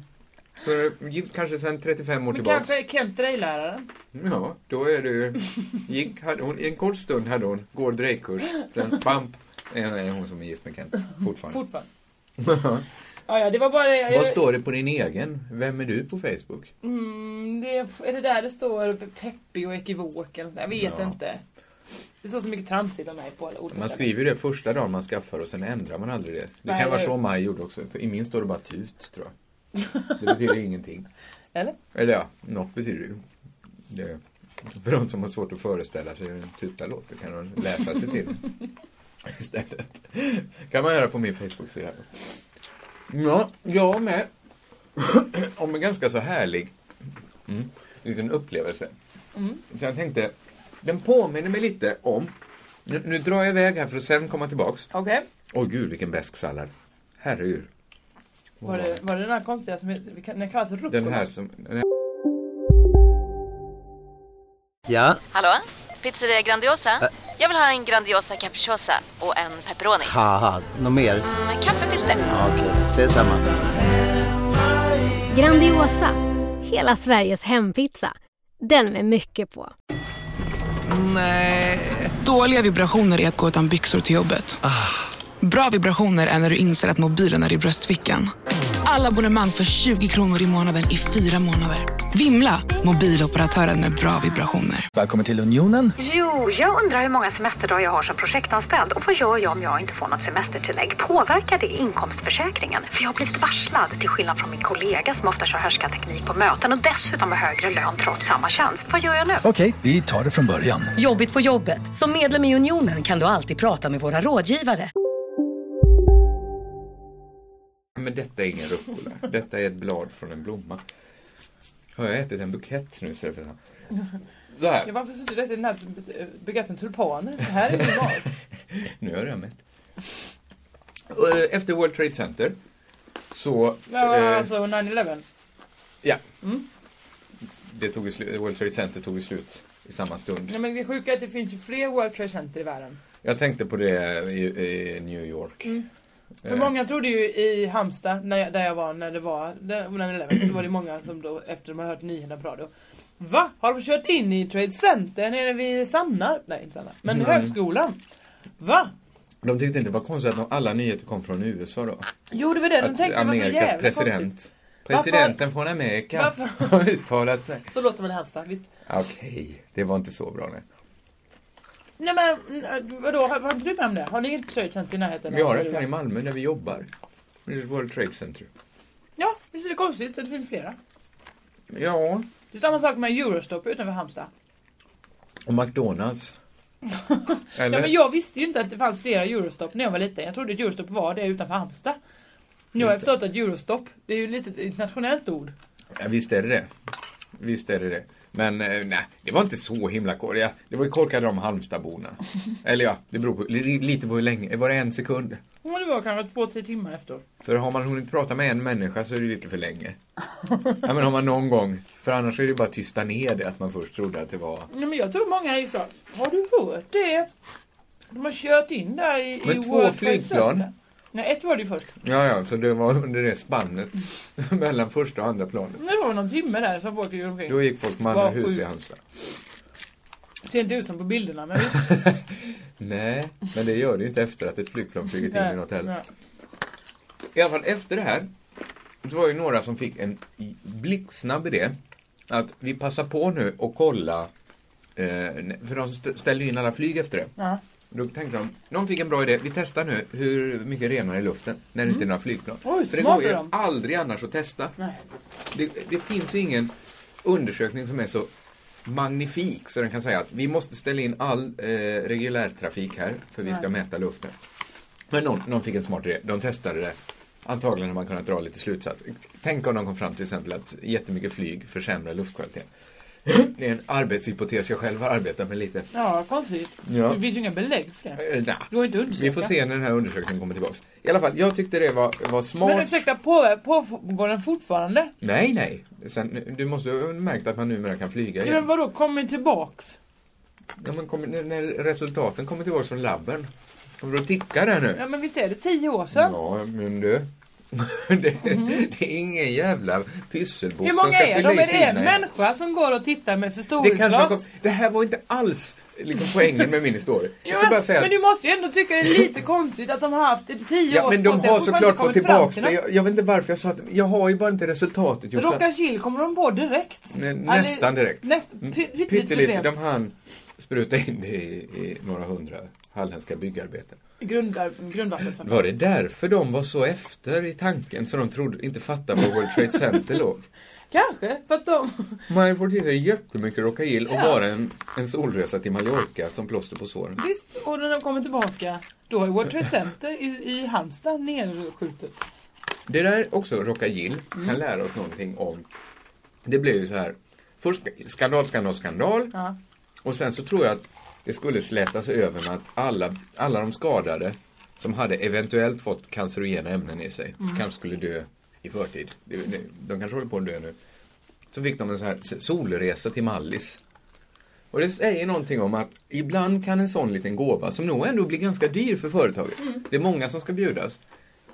[SPEAKER 2] För gift kanske sedan 35 år
[SPEAKER 3] Men
[SPEAKER 2] tillbaks.
[SPEAKER 3] kanske Kent Drej-läraren?
[SPEAKER 2] Ja, då är det ju... Gick, hade hon, en kort stund hade hon går drejkurs. Sen pamp är är hon som är gift med Kent fortfarande.
[SPEAKER 3] Fortfarande. Ja, ja, det var bara det. Jag-
[SPEAKER 2] Vad står det på din egen? Vem är du på Facebook?
[SPEAKER 3] Mm, det är, är det där det står peppig och ekivok eller nåt sånt där? Jag vet
[SPEAKER 2] Ja.
[SPEAKER 3] inte. Det står så mycket tramsigt om mig på alla ord.
[SPEAKER 2] Man skriver ju det första dagen man skaffar och sen ändrar man aldrig det. Det
[SPEAKER 3] Nej.
[SPEAKER 2] kan vara så Maj gjorde också. För I min står det bara tut, tror jag. Det betyder ingenting.
[SPEAKER 3] Eller?
[SPEAKER 2] Eller ja, något betyder det ju. Det, för de som har svårt att föreställa sig hur en tuta låter kan de läsa sig till. Istället. kan man göra på min Facebook-sida. Ja, jag med. Om en ganska så härlig mm, liten upplevelse. Så jag tänkte, den påminner mig lite om... Nu, nu drar jag iväg här för att sen komma tillbaks.
[SPEAKER 3] Okej.
[SPEAKER 2] Åh gud vilken besk sallad. Herregud.
[SPEAKER 3] Var, det, var det den här konstiga som vi kan- den kallas rucola?
[SPEAKER 2] Den här som... Den här,
[SPEAKER 4] Ja,
[SPEAKER 5] Hallå? Pizzeria Grandiosa? Jag vill ha en Grandiosa capriciosa och en pepperoni.
[SPEAKER 4] haha, något mer?
[SPEAKER 5] Med kaffefilter.
[SPEAKER 4] Ja, Okej, ses samma.
[SPEAKER 6] Grandiosa, hela Sveriges hempizza. Den med mycket på.
[SPEAKER 7] Dåliga vibrationer är att gå utan byxor till jobbet. Bra vibrationer är när du inser att mobilen är i bröstfickan. Alla abonnemang för 20 kronor i månaden i fyra månader. Vimla! Mobiloperatören med bra vibrationer.
[SPEAKER 8] Välkommen till Unionen.
[SPEAKER 9] Jo, jag undrar hur många semesterdagar jag har som projektanställd och vad gör jag om jag inte får något semestertillägg? Påverkar det inkomstförsäkringen? För jag har blivit varslad, till skillnad från min kollega som ofta kör härskarteknik på möten och dessutom har högre lön trots samma tjänst. Vad gör jag nu?
[SPEAKER 8] Okej, vi tar det från början.
[SPEAKER 10] Jobbigt på jobbet. Som medlem i Unionen kan du alltid prata med våra rådgivare.
[SPEAKER 2] men detta är ingen rucola. Detta är ett blad från en blomma. Har jag ätit en bukett nu? Så, är det för- så
[SPEAKER 3] Ja,
[SPEAKER 2] här.
[SPEAKER 3] varför sitter du och äter den här buketten tulpaner? Det här är min mat.
[SPEAKER 2] Nu är jag redan mätt. Och, eh, Efter World Trade Center så...
[SPEAKER 3] Ja,
[SPEAKER 2] eh,
[SPEAKER 3] alltså Mm. 9-11.
[SPEAKER 2] ja. Det tog ju slu- World Trade Center tog ju slut i samma stund.
[SPEAKER 3] Nej men det sjuka är att det finns ju fler World Trade Center i världen.
[SPEAKER 2] Jag tänkte på det i, i New York.
[SPEAKER 3] Mm.
[SPEAKER 2] Eh.
[SPEAKER 3] För många trodde ju i Halmstad, när jag, där jag var när det var där- 9-11, då var det många som då efter de hade hört nyheterna på radio. Va? Har de kört in i Trade Center nere vid Sanna? Nej inte Sanna, men
[SPEAKER 2] Mm.
[SPEAKER 3] högskolan. Va?
[SPEAKER 2] De tyckte inte det var konstigt att de- alla nyheter kom från USA då.
[SPEAKER 3] Jo det var det de
[SPEAKER 2] Att
[SPEAKER 3] tänkte, det var så
[SPEAKER 2] Amerikas
[SPEAKER 3] jävla
[SPEAKER 2] president.
[SPEAKER 3] konstigt.
[SPEAKER 2] Presidenten från Amerika
[SPEAKER 3] Varför?
[SPEAKER 2] har uttalat sig.
[SPEAKER 3] Så låter man i Halmstad, visst.
[SPEAKER 2] Okej, det var inte så bra nu.
[SPEAKER 3] Nej men mm, vadå, har, har inte du med om det? Har ni inget Trade Center i närheten?
[SPEAKER 2] Vi
[SPEAKER 3] av
[SPEAKER 2] har
[SPEAKER 3] där
[SPEAKER 2] ett
[SPEAKER 3] du
[SPEAKER 2] här i
[SPEAKER 3] var?
[SPEAKER 2] Malmö där vi jobbar. Det är World Trade Center.
[SPEAKER 3] Ja, visst är det konstigt att det finns flera.
[SPEAKER 2] Ja,
[SPEAKER 3] Det är samma sak med Eurostop utanför Halmstad.
[SPEAKER 2] och McDonalds. Eller?
[SPEAKER 3] Ja, men jag visste ju inte att det fanns flera Eurostop när jag var liten. Jag trodde att Eurostop var det utanför Halmstad. Nu har jag förstått att Eurostop, det är ju lite ett internationellt ord.
[SPEAKER 2] Ja, visst är det det. Visst är det det. Men eh, nej, det var inte så himla korkat. Ja, Det var ju korkade de Halmstadborna. Eller ja, det beror på, li- lite på hur länge. Var det en sekund?
[SPEAKER 3] Ja, det var kanske två, tre timmar efteråt.
[SPEAKER 2] För har man hunnit prata med en människa så är det lite för länge. ja, men har man någon gång. För annars är det bara att tysta ner det att man först trodde att det var...
[SPEAKER 3] Nej, men jag tror många är så här, har du hört det? De har kört in där i,
[SPEAKER 2] Men
[SPEAKER 3] i
[SPEAKER 2] två
[SPEAKER 3] World Trade
[SPEAKER 2] flygplan?
[SPEAKER 3] Center. Nej, ett var det ju först.
[SPEAKER 2] Ja, ja, så det var under det spannet mellan första och andra planet.
[SPEAKER 3] Men Det var väl någon timme där som folk gjorde omkring.
[SPEAKER 2] Då gick folk man
[SPEAKER 3] Vad
[SPEAKER 2] och hus i
[SPEAKER 3] sjukt.
[SPEAKER 2] Halmstad.
[SPEAKER 3] Ser inte ut som på bilderna, men visst.
[SPEAKER 2] Nej, men det gör det ju inte efter att ett flygplan flugit in i något heller.
[SPEAKER 3] Nej.
[SPEAKER 2] I alla fall efter det här så var det ju några som fick en i- blixtsnabb idé att vi passar på nu och kolla eh, för de st- ställde ju in alla flyg efter det.
[SPEAKER 3] Ja.
[SPEAKER 2] Då tänkte de, någon fick en bra idé, vi testar nu hur mycket renare i luften när det inte är några flygplan.
[SPEAKER 3] Mm. Oj,
[SPEAKER 2] för det
[SPEAKER 3] smarta
[SPEAKER 2] går ju
[SPEAKER 3] de.
[SPEAKER 2] aldrig annars att testa.
[SPEAKER 3] Nej.
[SPEAKER 2] Det, det finns ju ingen undersökning som är så magnifik så den kan säga att vi måste ställa in all eh, reguljär trafik här för vi ska mäta luften. Men någon, någon fick en smart idé. De testade det. Antagligen har man kunnat dra lite slutsats. Tänk om de kom fram till exempel att jättemycket flyg försämrar luftkvaliteten. Det är en arbetshypotes jag själv har arbetat med lite.
[SPEAKER 3] Ja, konstigt.
[SPEAKER 2] Ja.
[SPEAKER 3] Det finns ju inga belägg för det.
[SPEAKER 2] Eh, nja.
[SPEAKER 3] Det går inte att
[SPEAKER 2] Vi
[SPEAKER 3] undersöka.
[SPEAKER 2] får se när den här undersökningen kommer tillbaks. I alla fall, jag tyckte det var, var smart.
[SPEAKER 3] Men ursäkta, på- pågår den fortfarande?
[SPEAKER 2] Nej, nej. Sen, du måste ju ha märkt att man numera kan flyga igen.
[SPEAKER 3] Men vadå, kommer tillbaks?
[SPEAKER 2] Ja, men kommer, när- när resultaten kommer tillbaka från labben. Kommer du att ticka där nu?
[SPEAKER 3] Ja men visst är det tio år sedan?
[SPEAKER 2] Ja, men du. det, det är ingen jävla pysselbok.
[SPEAKER 3] Mm-hmm. Hur
[SPEAKER 2] som
[SPEAKER 3] många
[SPEAKER 2] ska
[SPEAKER 3] är
[SPEAKER 2] fylla i
[SPEAKER 3] de? Är det en
[SPEAKER 2] sidorna.
[SPEAKER 3] människa som går och tittar med
[SPEAKER 2] det, kanske kom,
[SPEAKER 3] förstoringsglas?
[SPEAKER 2] det här var inte alls liksom, poängen med min historia. Jag
[SPEAKER 3] Jo,
[SPEAKER 2] ska bara
[SPEAKER 3] men,
[SPEAKER 2] säga
[SPEAKER 3] men
[SPEAKER 2] att
[SPEAKER 3] du måste ju ändå tycka det är lite konstigt att de har haft i tio
[SPEAKER 2] Ja,
[SPEAKER 3] år
[SPEAKER 2] men de
[SPEAKER 3] på sig och
[SPEAKER 2] har
[SPEAKER 3] fortfarande
[SPEAKER 2] såklart
[SPEAKER 3] inte
[SPEAKER 2] gått
[SPEAKER 3] kommit fram
[SPEAKER 2] tillbaks.
[SPEAKER 3] till
[SPEAKER 2] det.
[SPEAKER 3] något.
[SPEAKER 2] Jag, jag vet inte varför jag sa att jag har ju bara inte resultatet. Jossan.
[SPEAKER 3] Rocka Kil kommer de på direkt.
[SPEAKER 2] Nä,
[SPEAKER 3] Eller-
[SPEAKER 2] nästan direkt.
[SPEAKER 3] Näst,
[SPEAKER 2] Mm,
[SPEAKER 3] py- pyttelite för
[SPEAKER 2] Pyttelite.
[SPEAKER 3] sent.
[SPEAKER 2] De hann spruta in det i, i några hundra halländska byggarbetare.
[SPEAKER 3] Grundar, grundvattnet.
[SPEAKER 2] Var det därför de var så efter i tanken så de trodde, inte fattade var World Trade Center låg?
[SPEAKER 3] Kanske, för att de...
[SPEAKER 2] Man får titta jättemycket Rockagill och
[SPEAKER 3] Ja.
[SPEAKER 2] bara en, en solresa till Mallorca som plåster på såren.
[SPEAKER 3] Visst, och när de kommer tillbaka, då är World Trade Center i, i Halmstad nedskjutet.
[SPEAKER 2] Det där också, Rockagill,
[SPEAKER 3] Mm.
[SPEAKER 2] kan lära oss någonting om. Det blev ju så här, först skandal, skandal, skandal.
[SPEAKER 3] Ja.
[SPEAKER 2] Och sen så tror jag att det skulle slätas över med att alla, alla de skadade som hade eventuellt fått cancerogena ämnen i sig,
[SPEAKER 11] Mm.
[SPEAKER 2] kanske skulle dö i förtid. De, de kanske håller på att dö nu. Så fick de en sån här s- solresa till Mallis. Och det säger någonting om att ibland kan en sån liten gåva, som nog ändå blir ganska dyr för företaget,
[SPEAKER 3] Mm.
[SPEAKER 2] det är många som ska bjudas,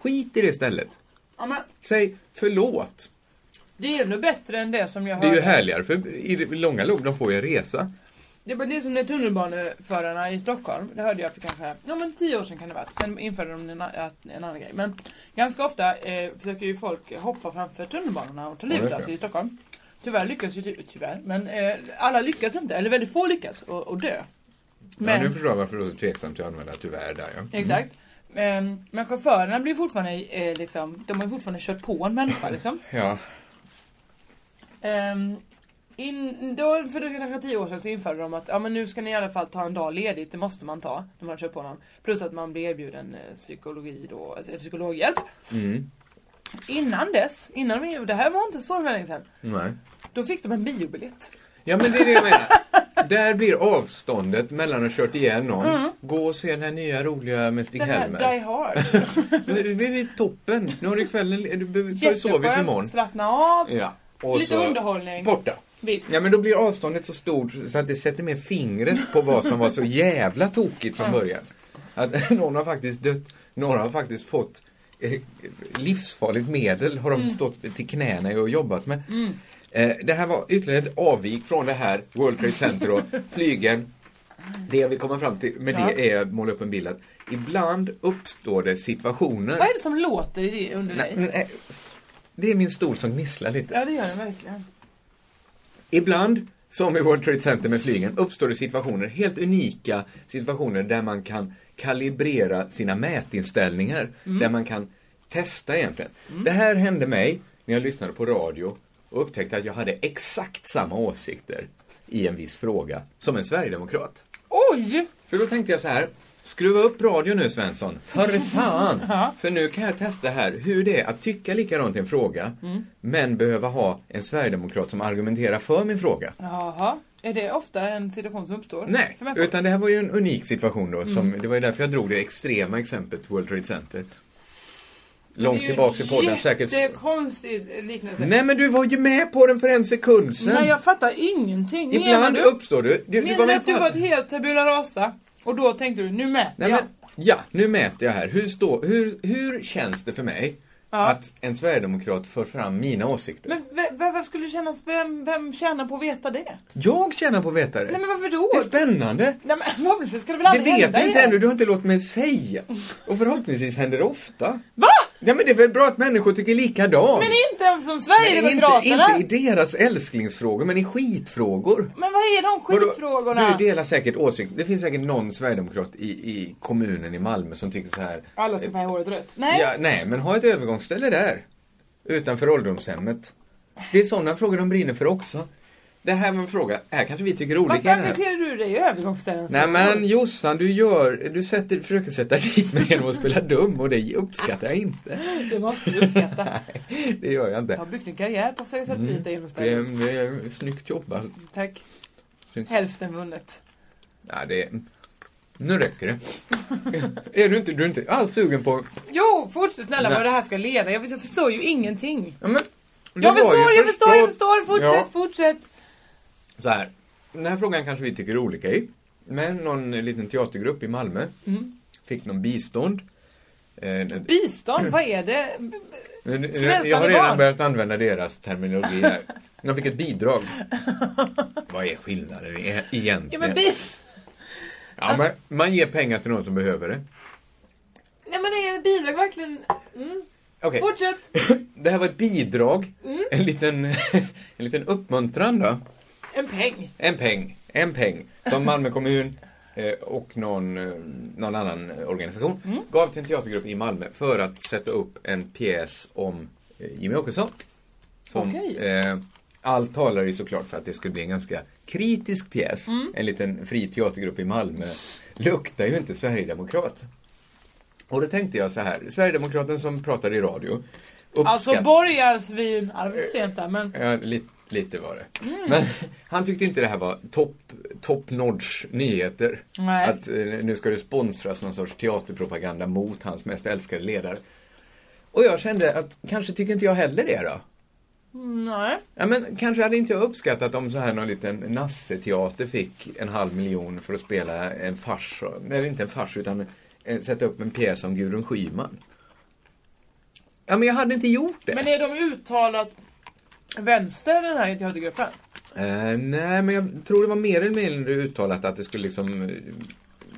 [SPEAKER 2] skit i det istället.
[SPEAKER 3] Ja, men
[SPEAKER 2] Säg förlåt.
[SPEAKER 3] det är ju ännu bättre än det som jag
[SPEAKER 2] Det är
[SPEAKER 3] hörde.
[SPEAKER 2] ju härligare, för i det långa lopp, de får ju en resa.
[SPEAKER 3] Det var det som när tunnelbaneförarna i Stockholm, det hörde jag för kanske ja, men tio år sedan kan det vara. Sen införde de en, a- att- en annan grej. Men ganska ofta eh, försöker ju folk hoppa framför tunnelbanorna och ta
[SPEAKER 12] Ja,
[SPEAKER 3] livet
[SPEAKER 12] det
[SPEAKER 3] av
[SPEAKER 12] är
[SPEAKER 3] sig
[SPEAKER 12] det.
[SPEAKER 3] i Stockholm. Tyvärr lyckas ju, ty- tyvärr, men eh, alla lyckas inte, eller väldigt få lyckas och, och dö.
[SPEAKER 2] Ja,
[SPEAKER 3] Men-
[SPEAKER 2] nu förstår jag varför du är så tveksam till att använda tyvärr där ja.
[SPEAKER 3] Exakt. Men, men chaufförerna blir fortfarande eh, liksom, de har ju fortfarande kört på en människa liksom.
[SPEAKER 2] Ja.
[SPEAKER 3] Ehm, in, då, för det är kanske tio år sedan så införde de att ja, men nu ska ni i alla fall ta en dag ledigt, det måste man ta när man kör på någon. Plus att man blir erbjuden eh, psykologi då, alltså, psykologhjälp.
[SPEAKER 2] Mm.
[SPEAKER 3] Innan dess, innan vi, det här var inte så länge sedan,
[SPEAKER 2] Nej.
[SPEAKER 3] då fick de en biobiljett.
[SPEAKER 2] Ja men det är det jag menar. Där blir avståndet mellan att ha kört igen någon,
[SPEAKER 3] Mm.
[SPEAKER 2] gå och se den här nya roliga med
[SPEAKER 3] Den här Die
[SPEAKER 2] Stig-Helmer.
[SPEAKER 3] Hard.
[SPEAKER 2] Det blir ju toppen. Nu har du kvällen, du behöver- sover vi
[SPEAKER 3] Jätteskönt,
[SPEAKER 2] imorgon.
[SPEAKER 3] slappna av,
[SPEAKER 2] Ja.
[SPEAKER 3] lite underhållning.
[SPEAKER 2] Borta.
[SPEAKER 3] Visst.
[SPEAKER 2] Ja men då blir avståndet så stort så att det sätter med fingret på vad som var så jävla tokigt från början. Att någon har faktiskt dött, några har faktiskt fått eh, livsfarligt medel har de
[SPEAKER 11] Mm.
[SPEAKER 2] stått till knäna i och jobbat med.
[SPEAKER 11] Mm.
[SPEAKER 2] Eh, det här var ytterligare ett avvik från det här World Trade Center och flygen. Det jag vill komma fram till med det är att måla upp en bild att ibland uppstår det situationer.
[SPEAKER 3] Vad är det som låter i det under
[SPEAKER 2] Nej,
[SPEAKER 3] dig?
[SPEAKER 2] nej, det är min stol som gnisslar lite.
[SPEAKER 3] Ja det gör den verkligen.
[SPEAKER 2] Ibland, som i World Trade Center med flygen, uppstår det situationer, helt unika situationer där man kan kalibrera sina mätinställningar.
[SPEAKER 11] Mm.
[SPEAKER 2] Där man kan testa egentligen. Det här hände mig när jag lyssnade på radio och upptäckte att jag hade exakt samma åsikter i en viss fråga som en sverigedemokrat.
[SPEAKER 3] Oj!
[SPEAKER 2] För då tänkte jag så här, skruva upp radio nu Svensson, för fan! För nu kan jag testa här hur det är att tycka likadant i en fråga
[SPEAKER 3] Mm.
[SPEAKER 2] men behöva ha en sverigedemokrat som argumenterar för min fråga.
[SPEAKER 3] Jaha, är det ofta en situation som uppstår?
[SPEAKER 2] Nej,
[SPEAKER 3] För människor?
[SPEAKER 2] utan det här var ju en unik situation då. Som,
[SPEAKER 3] Mm.
[SPEAKER 2] det var ju därför jag drog det extrema exemplet World Trade Center. Långt
[SPEAKER 3] Det är
[SPEAKER 2] tillbaks
[SPEAKER 3] ju
[SPEAKER 2] i podden säkert.
[SPEAKER 3] Jättekonstig liknelse.
[SPEAKER 2] Nej men du var ju med på den för en sekund sedan.
[SPEAKER 3] Nej, jag fattar ingenting.
[SPEAKER 2] Ibland
[SPEAKER 3] du,
[SPEAKER 2] uppstår du. du, du
[SPEAKER 3] menar
[SPEAKER 2] var
[SPEAKER 3] du
[SPEAKER 2] med
[SPEAKER 3] att du
[SPEAKER 2] på
[SPEAKER 3] var
[SPEAKER 2] allt.
[SPEAKER 3] ett helt tabula rasa? Och då tänkte du, nu mäter
[SPEAKER 2] Nej,
[SPEAKER 3] jag.
[SPEAKER 2] men, ja, nu mäter jag här. Hur, står, hur, hur känns det för mig
[SPEAKER 3] Ja.
[SPEAKER 2] att en sverigedemokrat för fram mina åsikter?
[SPEAKER 3] Men ve- ve- vem skulle kännas, vem, vem tjänar på att veta det?
[SPEAKER 2] Jag tjänar på att veta det.
[SPEAKER 3] Nej men varför då?
[SPEAKER 2] det är spännande.
[SPEAKER 3] Nej men varför ska det väl
[SPEAKER 2] Det
[SPEAKER 3] aldrig
[SPEAKER 2] vet
[SPEAKER 3] hända
[SPEAKER 2] jag inte
[SPEAKER 3] igen?
[SPEAKER 2] ännu, du har inte låtit mig säga. Och förhoppningsvis händer det ofta.
[SPEAKER 3] Va?
[SPEAKER 2] Nej men det är väl bra att människor tycker likadant.
[SPEAKER 3] Men inte ens som
[SPEAKER 2] Nej, inte,
[SPEAKER 3] Sverigedemokraterna?
[SPEAKER 2] inte i deras älsklingsfrågor, men i skitfrågor.
[SPEAKER 3] Men vad är de
[SPEAKER 2] Vadå?
[SPEAKER 3] skitfrågorna?
[SPEAKER 2] Du delar säkert åsikt. Det finns säkert någon sverigedemokrat i, i kommunen i Malmö som tycker så här.
[SPEAKER 3] Alla ska färga håret rött. Nej.
[SPEAKER 2] Ja, nej, men ha ett övergångsställe där. Utanför ålderdomshemmet. Det är sådana frågor de brinner för också. Det här var en fråga, här kanske vi tycker olika. i
[SPEAKER 3] Varför
[SPEAKER 2] den här.
[SPEAKER 3] engagerar du dig i övergångsställen?
[SPEAKER 2] Nej men Jossan, du gör, du sätter, försöker sätta dit mig genom att spela dum och det uppskattar jag inte.
[SPEAKER 3] Det måste du uppskatta.
[SPEAKER 2] Det gör jag
[SPEAKER 3] Jag
[SPEAKER 2] inte.
[SPEAKER 3] har byggt en karriär på att försöka sätta dit dig genom att
[SPEAKER 2] Mm. Det
[SPEAKER 3] spela
[SPEAKER 2] är, det är snyggt jobbat.
[SPEAKER 3] Tack.
[SPEAKER 2] Snyggt.
[SPEAKER 3] Hälften vunnet.
[SPEAKER 2] Nej, det är... Nu räcker det. är du inte, du är inte alls sugen på...
[SPEAKER 3] Jo, fortsätt snälla
[SPEAKER 2] Nej.
[SPEAKER 3] vad det här ska leda. Jag jag förstår ju ingenting.
[SPEAKER 2] Ja, men, det
[SPEAKER 3] Jag
[SPEAKER 2] var ju
[SPEAKER 3] förstår, jag förstår, jag
[SPEAKER 2] förstått.
[SPEAKER 3] förstår. Fortsätt,
[SPEAKER 2] Ja,
[SPEAKER 3] fortsätt.
[SPEAKER 2] så här. Den här frågan kanske vi tycker olika i. Men någon liten teatergrupp i Malmö
[SPEAKER 3] Mm.
[SPEAKER 2] fick någon bistånd. Eh,
[SPEAKER 3] Bistånd, vad är det?
[SPEAKER 2] Nu- nu-
[SPEAKER 3] Svältande
[SPEAKER 2] Jag har redan
[SPEAKER 3] barn.
[SPEAKER 2] börjat använda deras terminologi här. Jag fick ett bidrag. Vad är skillnaden e- egentligen?
[SPEAKER 3] Ja men bis...
[SPEAKER 2] Ja, men man ger pengar till någon som behöver det.
[SPEAKER 3] Nej men är bidrag verkligen... Mm.
[SPEAKER 2] Okej,
[SPEAKER 3] Fortsätt!
[SPEAKER 2] det här var ett bidrag.
[SPEAKER 3] Mm.
[SPEAKER 2] En, liten, en liten uppmuntran då.
[SPEAKER 3] En peng.
[SPEAKER 2] En peng, en peng som Malmö kommun eh, och någon, eh, någon annan eh, organisation
[SPEAKER 3] Mm.
[SPEAKER 2] gav till en teatergrupp i Malmö för att sätta upp en pjäs om eh, Jimmy Åkesson. Som,
[SPEAKER 3] Okej.
[SPEAKER 2] eh, allt talar ju såklart för att det skulle bli en ganska kritisk pjäs.
[SPEAKER 3] Mm.
[SPEAKER 2] En liten fri teatergrupp i Malmö luktar ju inte Sverigedemokrat. Och då tänkte jag så här, Sverigedemokraten som pratade i radio.
[SPEAKER 3] Alltså
[SPEAKER 2] uppskatt-
[SPEAKER 3] borgarsvin... Ja det var lite sent där men...
[SPEAKER 2] Ja, lite, lite var det.
[SPEAKER 3] Mm.
[SPEAKER 2] Men han tyckte inte det här var top, top notch nyheter.
[SPEAKER 3] Nej.
[SPEAKER 2] Att eh, nu ska det sponsras någon sorts teaterpropaganda mot hans mest älskade ledare. Och jag kände att kanske tycker inte jag heller det då.
[SPEAKER 3] Nej.
[SPEAKER 2] Ja, men kanske hade inte jag uppskattat om så här någon liten nasseteater fick en halv miljon för att spela en fars, eller inte en fars utan eh, sätta upp en pjäs om Gudrun Schyman. Ja men jag hade inte gjort det.
[SPEAKER 3] Men är de uttalat vänster den här teatergruppen?
[SPEAKER 2] Eh, nej, men jag tror det var mer eller mindre uttalat att det skulle liksom eh,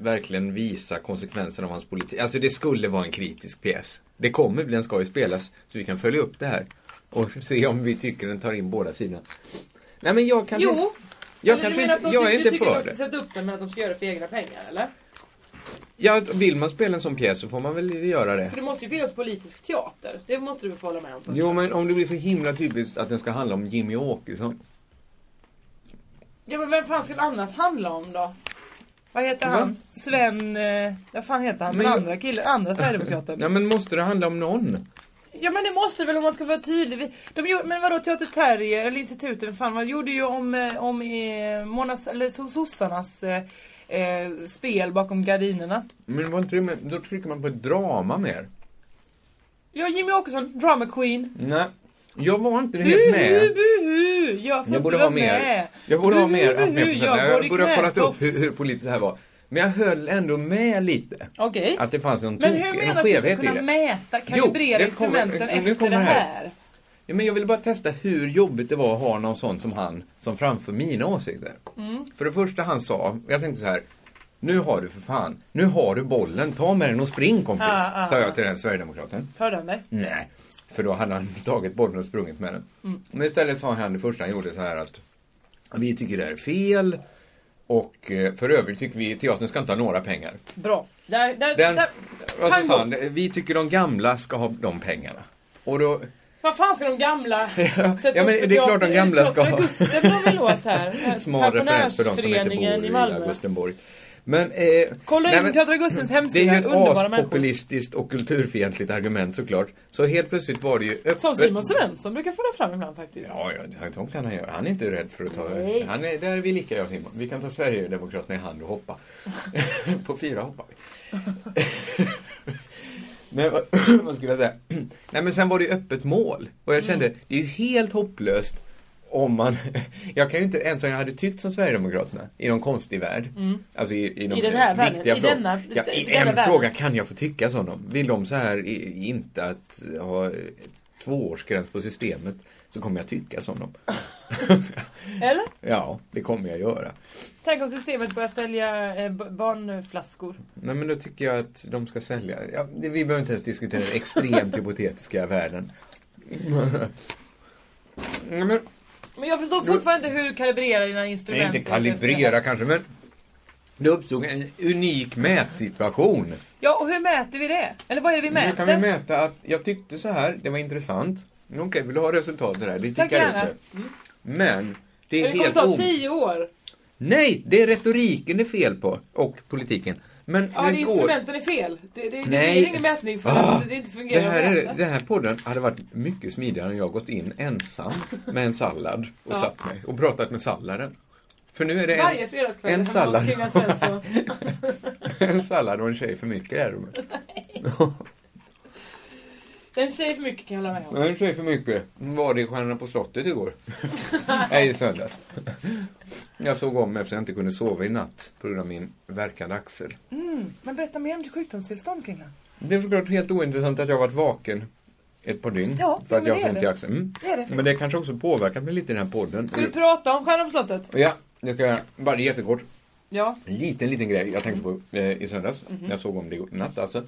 [SPEAKER 2] verkligen visa konsekvenserna av hans politik. Alltså det skulle vara en kritisk pjäs. Det kommer bli, den ska ju spelas, så vi kan följa upp det här. Och se om vi tycker den tar in båda sidorna. Nej men jag kanske
[SPEAKER 3] Jo!
[SPEAKER 2] Jag,
[SPEAKER 3] Eller du
[SPEAKER 2] kanske
[SPEAKER 3] menar
[SPEAKER 2] inte,
[SPEAKER 3] att de
[SPEAKER 2] jag
[SPEAKER 3] ty-
[SPEAKER 2] är inte
[SPEAKER 3] du tycker
[SPEAKER 2] för
[SPEAKER 3] de
[SPEAKER 2] det.
[SPEAKER 3] ska sätta upp den men att de ska göra det för egna pengar eller?
[SPEAKER 2] Ja, vill man spela en sån pjäs så får man väl göra det.
[SPEAKER 3] För det måste ju finnas politisk teater. Det måste du väl få hålla med om?
[SPEAKER 2] Jo, men om det blir så himla typiskt att den ska handla om Jimmy Åkesson.
[SPEAKER 3] Ja men vem fan ska det annars handla om då? Vad heter han? Sven... Eh, vad fan heter han? Den
[SPEAKER 2] Men-
[SPEAKER 3] andra killen, andra sverigedemokraten.
[SPEAKER 2] Nej, men måste det handla om någon?
[SPEAKER 3] Ja men det måste väl om man ska vara tydlig. Vi- De gjorde, men vadå Teater Terrier eller instituten fan vad gjorde ju om, eh, om eh, Monas, eller so- sossarnas eh, eh, spel bakom gardinerna.
[SPEAKER 2] Men var inte det med, då trycker man på ett drama mer.
[SPEAKER 3] Ja Jimmy Åkesson, drama queen.
[SPEAKER 2] Nej, jag var inte helt
[SPEAKER 3] Buhu,
[SPEAKER 2] med.
[SPEAKER 3] buhu, jag får
[SPEAKER 2] Jag borde
[SPEAKER 3] inte
[SPEAKER 2] ha
[SPEAKER 3] vara med.
[SPEAKER 2] mer. Jag borde ha mer. haft mer på
[SPEAKER 3] jag
[SPEAKER 2] fötterna.
[SPEAKER 3] går
[SPEAKER 2] Jag
[SPEAKER 3] i
[SPEAKER 2] borde ha kollat upp
[SPEAKER 3] knätofs.
[SPEAKER 2] hur, hur politiskt det här var. Men jag höll ändå med lite.
[SPEAKER 3] Okej.
[SPEAKER 2] Att det fanns en, tok,
[SPEAKER 3] Men hur
[SPEAKER 2] Alltså, en
[SPEAKER 3] menar du att du
[SPEAKER 2] skevhet
[SPEAKER 3] ska
[SPEAKER 2] i
[SPEAKER 3] kunna
[SPEAKER 2] det.
[SPEAKER 3] mäta, kalibrera
[SPEAKER 2] det kommer-
[SPEAKER 3] instrumenten
[SPEAKER 2] nu
[SPEAKER 3] efter
[SPEAKER 2] kommer
[SPEAKER 3] det
[SPEAKER 2] det
[SPEAKER 3] här?
[SPEAKER 2] här. Ja, men jag ville bara testa hur jobbigt det var att ha någon sån som han som framför mina åsikter.
[SPEAKER 3] Mm.
[SPEAKER 2] För det första han sa, jag tänkte så här. Nu har du för fan, nu har du bollen, ta med den och spring kompis.
[SPEAKER 3] Ja, ja,
[SPEAKER 2] sa
[SPEAKER 3] ja.
[SPEAKER 2] jag till den sverigedemokraten.
[SPEAKER 3] Fördömer.
[SPEAKER 2] Nej, för då hade han tagit bollen och sprungit med den.
[SPEAKER 3] Mm.
[SPEAKER 2] Men istället sa han det första han gjorde så här att vi tycker det här är fel och eh, för övrigt tycker vi teatern ska inte ha några pengar.
[SPEAKER 3] Bra. Där, där,
[SPEAKER 2] Den,
[SPEAKER 3] där.
[SPEAKER 2] vad så
[SPEAKER 3] Pang
[SPEAKER 2] sa
[SPEAKER 3] bom.
[SPEAKER 2] han, vi tycker de gamla ska ha de pengarna. Och då,
[SPEAKER 3] Vad fan ska de gamla sätta
[SPEAKER 2] ja, men
[SPEAKER 3] upp för
[SPEAKER 2] det är klart de
[SPEAKER 3] teater-
[SPEAKER 2] gamla ska
[SPEAKER 3] Teater
[SPEAKER 2] ha.
[SPEAKER 3] Augusten var väl låt här.
[SPEAKER 2] Smal referens för de som inte
[SPEAKER 3] Eh, Pensionärsföreningen
[SPEAKER 2] bor i,
[SPEAKER 3] i Malmö.
[SPEAKER 2] Augustenborg. Men, eh,
[SPEAKER 3] Kolla
[SPEAKER 2] nej, men-
[SPEAKER 3] in
[SPEAKER 2] Mm.
[SPEAKER 3] Teater Augustens
[SPEAKER 2] Det
[SPEAKER 3] hemsida,
[SPEAKER 2] är ju ett
[SPEAKER 3] underbara människor.
[SPEAKER 2] aspopulistiskt och kulturfientligt argument såklart. Så helt plötsligt var det ju öppet.
[SPEAKER 3] Som Simon Svensson brukar föra fram ibland faktiskt.
[SPEAKER 2] Ja, ja, det har inte han gör. Han är inte rädd för att ta...
[SPEAKER 3] Nej.
[SPEAKER 2] Han är, där är vi lika, jag och Simon. Vi kan ta Sverigedemokraterna i hand och hoppa. På fyra hoppar vi. Men vad, vad skulle jag säga? Nej, men sen var det ju öppet mål. Och jag
[SPEAKER 3] Mm.
[SPEAKER 2] kände, det är ju helt hopplöst om man... Jag kan ju inte ens om jag hade tyckt som Sverigedemokraterna i någon konstig värld.
[SPEAKER 3] Mm.
[SPEAKER 2] Alltså i, i, de
[SPEAKER 3] I den här världen,
[SPEAKER 2] viktiga
[SPEAKER 3] i
[SPEAKER 2] frågor.
[SPEAKER 3] denna-
[SPEAKER 2] ja, I
[SPEAKER 3] denna
[SPEAKER 2] en
[SPEAKER 3] världen.
[SPEAKER 2] fråga kan jag få tycka som dem. Vill de så här i, inte att ha eh, tvåårsgräns på systemet så kommer jag tycka som dem.
[SPEAKER 3] Eller?
[SPEAKER 2] Ja, det kommer jag göra.
[SPEAKER 3] Tänk om systemet börjar sälja eh, b- barnflaskor.
[SPEAKER 2] Nej men då tycker jag att de ska sälja. Ja, det- vi behöver inte ens diskutera den extremt hypotetiska världen. Nej, men,
[SPEAKER 3] Men jag förstår fortfarande inte hur du kalibrerar dina
[SPEAKER 2] nej,
[SPEAKER 3] instrument.
[SPEAKER 2] inte kalibrera kanske men det uppstod en unik mätsituation.
[SPEAKER 3] Ja, och hur mäter vi det? Eller vad är det vi
[SPEAKER 2] Nu
[SPEAKER 3] mäter?
[SPEAKER 2] kan vi mäta att jag tyckte så här, det var intressant. Men Okej, vill du ha resultatet här? Vi
[SPEAKER 3] Tack
[SPEAKER 2] tickar upp
[SPEAKER 3] gärna. Mm.
[SPEAKER 2] det. Men det är
[SPEAKER 3] det kommer
[SPEAKER 2] helt
[SPEAKER 3] ta
[SPEAKER 2] om...
[SPEAKER 3] tio år.
[SPEAKER 2] Nej, det är retoriken det är fel på. Och politiken. Men
[SPEAKER 3] Ja,
[SPEAKER 2] det
[SPEAKER 3] det
[SPEAKER 2] går...
[SPEAKER 3] instrumenten är fel. Det, det, det
[SPEAKER 2] Nej.
[SPEAKER 3] blir ingen mätning för
[SPEAKER 2] Ah,
[SPEAKER 3] att det inte
[SPEAKER 2] Det
[SPEAKER 3] fungerar
[SPEAKER 2] här,
[SPEAKER 3] att
[SPEAKER 2] är,
[SPEAKER 3] mäta.
[SPEAKER 2] den här podden hade varit mycket smidigare om jag gått in ensam med en sallad och
[SPEAKER 3] Ja.
[SPEAKER 2] satt mig och pratat med salladen. För nu är det
[SPEAKER 3] Varje
[SPEAKER 2] en,
[SPEAKER 3] fredagskväll
[SPEAKER 2] en,
[SPEAKER 3] hemma hos
[SPEAKER 2] sallad,
[SPEAKER 3] Klingan Svensson.
[SPEAKER 2] en sallad och en tjej för mycket i det här rummet.
[SPEAKER 3] En tjej för mycket kan jag hålla med om.
[SPEAKER 2] En tjej för mycket var det i Stjärnorna på slottet igår. Nej, i söndags. Jag såg om eftersom jag inte kunde sova i natt på grund av min verkande axel.
[SPEAKER 3] Mm, men berätta mer om ditt sjukdomstillstånd Kringlan.
[SPEAKER 2] Det är såklart helt ointressant att jag har varit vaken ett par dygn.
[SPEAKER 3] Ja,
[SPEAKER 2] för
[SPEAKER 3] jo,
[SPEAKER 2] att jag
[SPEAKER 3] men det
[SPEAKER 2] har
[SPEAKER 3] är
[SPEAKER 2] ont i
[SPEAKER 3] det.
[SPEAKER 2] axeln. Mm.
[SPEAKER 3] Det är det
[SPEAKER 2] men det kanske också påverkar mig lite i den här podden.
[SPEAKER 3] Ska du prata om Stjärnan på slottet?
[SPEAKER 2] Ja, det ska jag göra. Bara jättekort.
[SPEAKER 3] Ja.
[SPEAKER 2] En liten, liten grej jag tänkte
[SPEAKER 3] Mm.
[SPEAKER 2] på eh, i söndags.
[SPEAKER 3] Mhm.
[SPEAKER 2] Jag såg om det i natt alltså.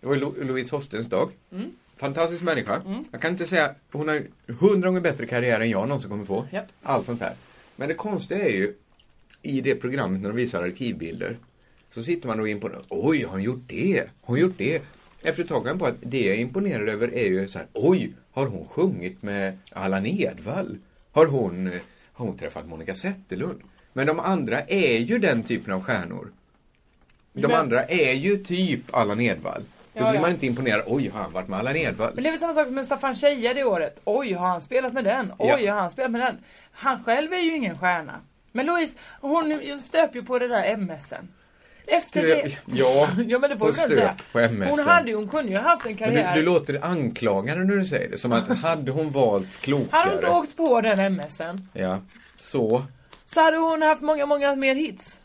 [SPEAKER 2] Det var ju Lo- Louise Hofstens dag.
[SPEAKER 3] Mm.
[SPEAKER 2] Fantastisk människa.
[SPEAKER 3] Mm.
[SPEAKER 2] Jag kan inte säga, hon har ju hundra gånger bättre karriär än jag någonsin kommer få.
[SPEAKER 3] Japp.
[SPEAKER 2] Allt sånt här. Men det konstiga är ju, i det programmet när de visar arkivbilder, så sitter man och imponerar. Oj, har hon gjort det? Har hon gjort det? Efter ett tag kom jag på att det jag imponerar över är ju så här, oj, har hon sjungit med Allan Edwall? Har hon, eh, har hon träffat Monica Zetterlund? Men de andra är ju den typen av stjärnor. De
[SPEAKER 3] Men-
[SPEAKER 2] andra är ju typ Allan Edwall. Då
[SPEAKER 3] Ja,
[SPEAKER 2] blir
[SPEAKER 3] ja.
[SPEAKER 2] man inte imponerad. Oj, har han varit med Allan Edwall?
[SPEAKER 3] Men det är väl samma sak som med Staffan Scheie det året. Oj, har han spelat med den? Oj,
[SPEAKER 2] Ja.
[SPEAKER 3] har han spelat med den? Han själv är ju ingen stjärna. Men Louise, hon stöp ju på det där MSen. Efter det...
[SPEAKER 2] Ja,
[SPEAKER 3] Ja men det får
[SPEAKER 2] hon
[SPEAKER 3] vi väl
[SPEAKER 2] stöp
[SPEAKER 3] säga.
[SPEAKER 2] på MSN.
[SPEAKER 3] Hon hade ju, hon kunde ju ha haft en
[SPEAKER 2] Men du,
[SPEAKER 3] karriär.
[SPEAKER 2] du låter anklagande när du säger det. Som att hade hon valt klokare.
[SPEAKER 3] Hade hon inte åkt på den MSen
[SPEAKER 2] Ja, så.
[SPEAKER 3] så hade hon haft många, många mer hits.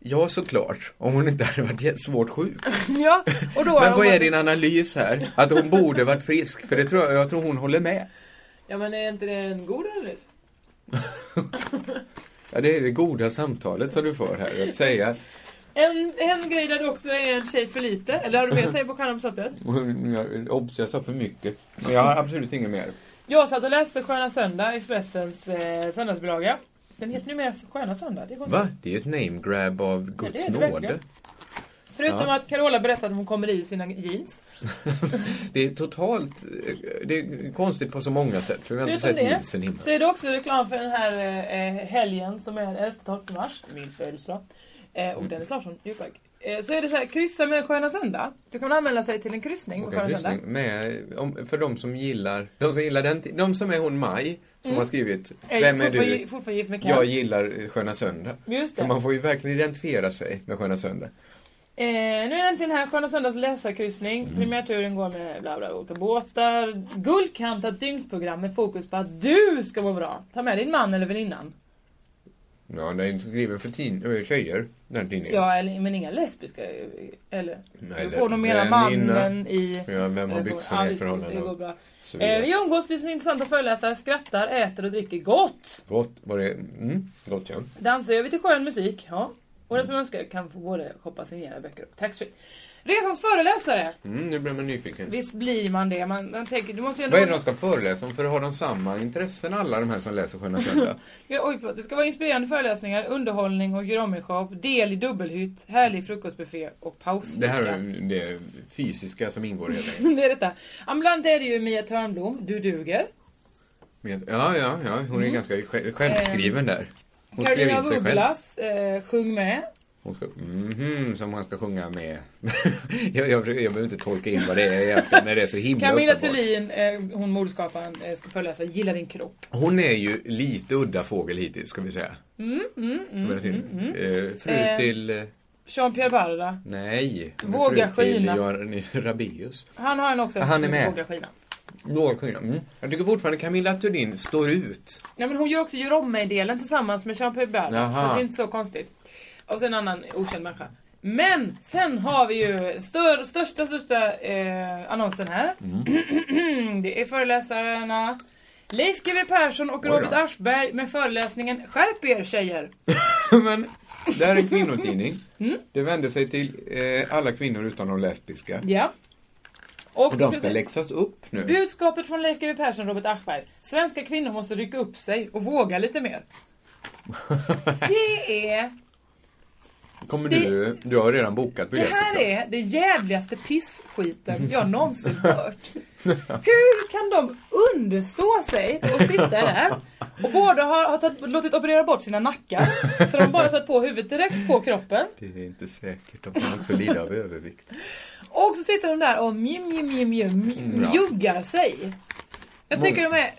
[SPEAKER 2] Ja, såklart. Om hon inte hade varit jä- svårt sjuk.
[SPEAKER 3] ja, och då hade
[SPEAKER 2] Men
[SPEAKER 3] hon
[SPEAKER 2] vad är
[SPEAKER 3] varit-
[SPEAKER 2] din analys här? Att hon borde varit frisk? För det tror jag, jag tror hon håller med.
[SPEAKER 3] Ja men är inte det en god analys?
[SPEAKER 2] Ja, det är det goda samtalet som du för här. Att säga,
[SPEAKER 3] En, en grej där det också är en tjej för lite, eller har du mer att säga på Stjärnan på slottet?
[SPEAKER 2] obs, jag sa för mycket. Men jag har absolut inget mer.
[SPEAKER 3] Jag satt och läste Sköna Söndag, Expressens eh, söndagsbilaga. Den heter numera Sköna Söndag, det är konstigt.
[SPEAKER 2] Va? Det är ju ett name grab av
[SPEAKER 3] det är
[SPEAKER 2] Guds
[SPEAKER 3] det
[SPEAKER 2] nåde.
[SPEAKER 3] verkligen. Förutom
[SPEAKER 2] Ja.
[SPEAKER 3] att Carola berättade att hon kommer i sina jeans.
[SPEAKER 2] Det är totalt... eh, Det är konstigt på så många sätt. För vi har inte
[SPEAKER 3] Förutom
[SPEAKER 2] sett
[SPEAKER 3] det
[SPEAKER 2] jeansen innan.
[SPEAKER 3] så är det också reklam för den här eh, helgen som är den 11-12 mars, min födelsedag. Eh, och
[SPEAKER 2] Mm.
[SPEAKER 3] Dennis Larsson, jo tack. Eh, så är det så här, kryssa med Sköna Söndag. Då kan man anmäla sig till en kryssning på
[SPEAKER 2] Och en
[SPEAKER 3] Sköna Söndag.
[SPEAKER 2] lyssning med, om, för de som gillar, de som gillar den, ti- de som är hon Maj, som
[SPEAKER 3] Mm.
[SPEAKER 2] har skrivit
[SPEAKER 3] Jag är
[SPEAKER 2] Vem är
[SPEAKER 3] fortfarande-
[SPEAKER 2] du?
[SPEAKER 3] fortfarande gift med Kent.
[SPEAKER 2] Jag gillar eh, Sköna Söndag.
[SPEAKER 3] Just det.
[SPEAKER 2] För man får ju verkligen identifiera sig med Sköna Söndag.
[SPEAKER 3] Eh, nu är det äntligen här, Sköna Söndags läsarkryssning.
[SPEAKER 2] Mm.
[SPEAKER 3] Primärturen går med bla bla olika båtar. Guldkantat dygnsprogram med fokus på att du ska må bra. Ta med din man eller väninnan.
[SPEAKER 2] Ja, den är ju skriven för tin, ö, tjejer, den tidningen.
[SPEAKER 3] Ja, eller, men inga lesbiska. eh, Eller?
[SPEAKER 2] Nej,
[SPEAKER 3] Du får nog mera
[SPEAKER 2] väninna.
[SPEAKER 3] mannen i...
[SPEAKER 2] Ja, vem har byxorna i
[SPEAKER 3] visst, Det går
[SPEAKER 2] förhållanden?
[SPEAKER 3] bra.
[SPEAKER 2] Så
[SPEAKER 3] Eh,
[SPEAKER 2] vidare.
[SPEAKER 3] vi umgås, lyssnar intressanta föreläsare, skrattar, äter och dricker gott.
[SPEAKER 2] Gott, var det, mm, gott ja.
[SPEAKER 3] Dansar gör vi till skön musik. Ja. Och
[SPEAKER 2] Mm.
[SPEAKER 3] den som önskar kan få både shoppa signerade böcker och taxfree. Resans föreläsare!
[SPEAKER 2] Mm, nu blir man nyfiken.
[SPEAKER 3] Visst blir man det. Man, man tänker, du måste ju ändå...
[SPEAKER 2] Vad är det de ska föreläsa om? För har de samma intressen alla de här som läser Sköna Söndag?
[SPEAKER 3] Ja, oj, förlåt. Det ska vara inspirerande föreläsningar, underhållning och grommyshow, del i dubbelhytt, härlig frukostbuffé och pausfika.
[SPEAKER 2] Det här är det fysiska som ingår helt enkelt.
[SPEAKER 3] det är detta. Ja, men Bland är det ju Mia Törnblom, Du duger.
[SPEAKER 2] Med- Ja, ja, ja, hon är
[SPEAKER 3] Mm.
[SPEAKER 2] ganska sj- självskriven där. Hon skrev
[SPEAKER 3] Karolina
[SPEAKER 2] in sig själv.
[SPEAKER 3] Vugglas, eh, Sjung med.
[SPEAKER 2] Hon ska, mhm, som man ska sjunga med. jag, jag, försöker- jag behöver inte tolka in vad det är egentligen när det är så himla
[SPEAKER 3] Camilla
[SPEAKER 2] uppenbart.
[SPEAKER 3] Thulin, eh, hon modskaparen, eh, ska föreläsa Gilla din kropp.
[SPEAKER 2] Hon är ju lite udda fågel hittills, ska vi säga.
[SPEAKER 3] Mm, mm,
[SPEAKER 2] Mm,
[SPEAKER 3] mm, mm, mm.
[SPEAKER 2] fru
[SPEAKER 3] Eh,
[SPEAKER 2] till... eh,
[SPEAKER 3] Jean-Pierre Barda.
[SPEAKER 2] Nej. hon är
[SPEAKER 3] Våga
[SPEAKER 2] fru till
[SPEAKER 3] skina.
[SPEAKER 2] Göran Rabaeus.
[SPEAKER 3] Han har en också
[SPEAKER 2] Han är
[SPEAKER 3] som
[SPEAKER 2] med.
[SPEAKER 3] Våga skina.
[SPEAKER 2] Våga skina. Mm. Jag tycker fortfarande Camilla Thulin står ut.
[SPEAKER 3] Ja, men hon gör också Gör om mig-delen tillsammans med Jean-Pierre Barda.
[SPEAKER 2] Jaha.
[SPEAKER 3] Så det är inte så konstigt. Och sen en annan okänd människa. Men sen har vi ju stör, största, största eh, annonsen här.
[SPEAKER 2] Mm.
[SPEAKER 3] det är föreläsarna Leif GW Persson och
[SPEAKER 2] Oj då.
[SPEAKER 3] Robert Aschberg med föreläsningen Skärp er tjejer!
[SPEAKER 2] Men det här är en kvinnotidning.
[SPEAKER 3] Mm.
[SPEAKER 2] Det vänder sig till eh, alla kvinnor utan de lesbiska.
[SPEAKER 3] Ja. Och,
[SPEAKER 2] Och de
[SPEAKER 3] ska
[SPEAKER 2] ska
[SPEAKER 3] se-
[SPEAKER 2] läxas upp nu.
[SPEAKER 3] Budskapet från Leif GW Persson och Robert Aschberg. Svenska kvinnor måste rycka upp sig och våga lite mer. Det är
[SPEAKER 2] Kommer du, du har redan bokat
[SPEAKER 3] Det
[SPEAKER 2] biljetter.
[SPEAKER 3] här är det jävligaste pissskiten jag någonsin hört. Hur kan de understå sig och sitta där och båda har, har tagit, låtit operera bort sina nackar så de bara satt på huvudet direkt på kroppen
[SPEAKER 2] Det är inte säkert. De kan också lida av övervikt.
[SPEAKER 3] och så sitter de där och mjum, mjum, mjum, mjum,
[SPEAKER 2] Ja.
[SPEAKER 3] mjuggar sig. Jag tycker de är...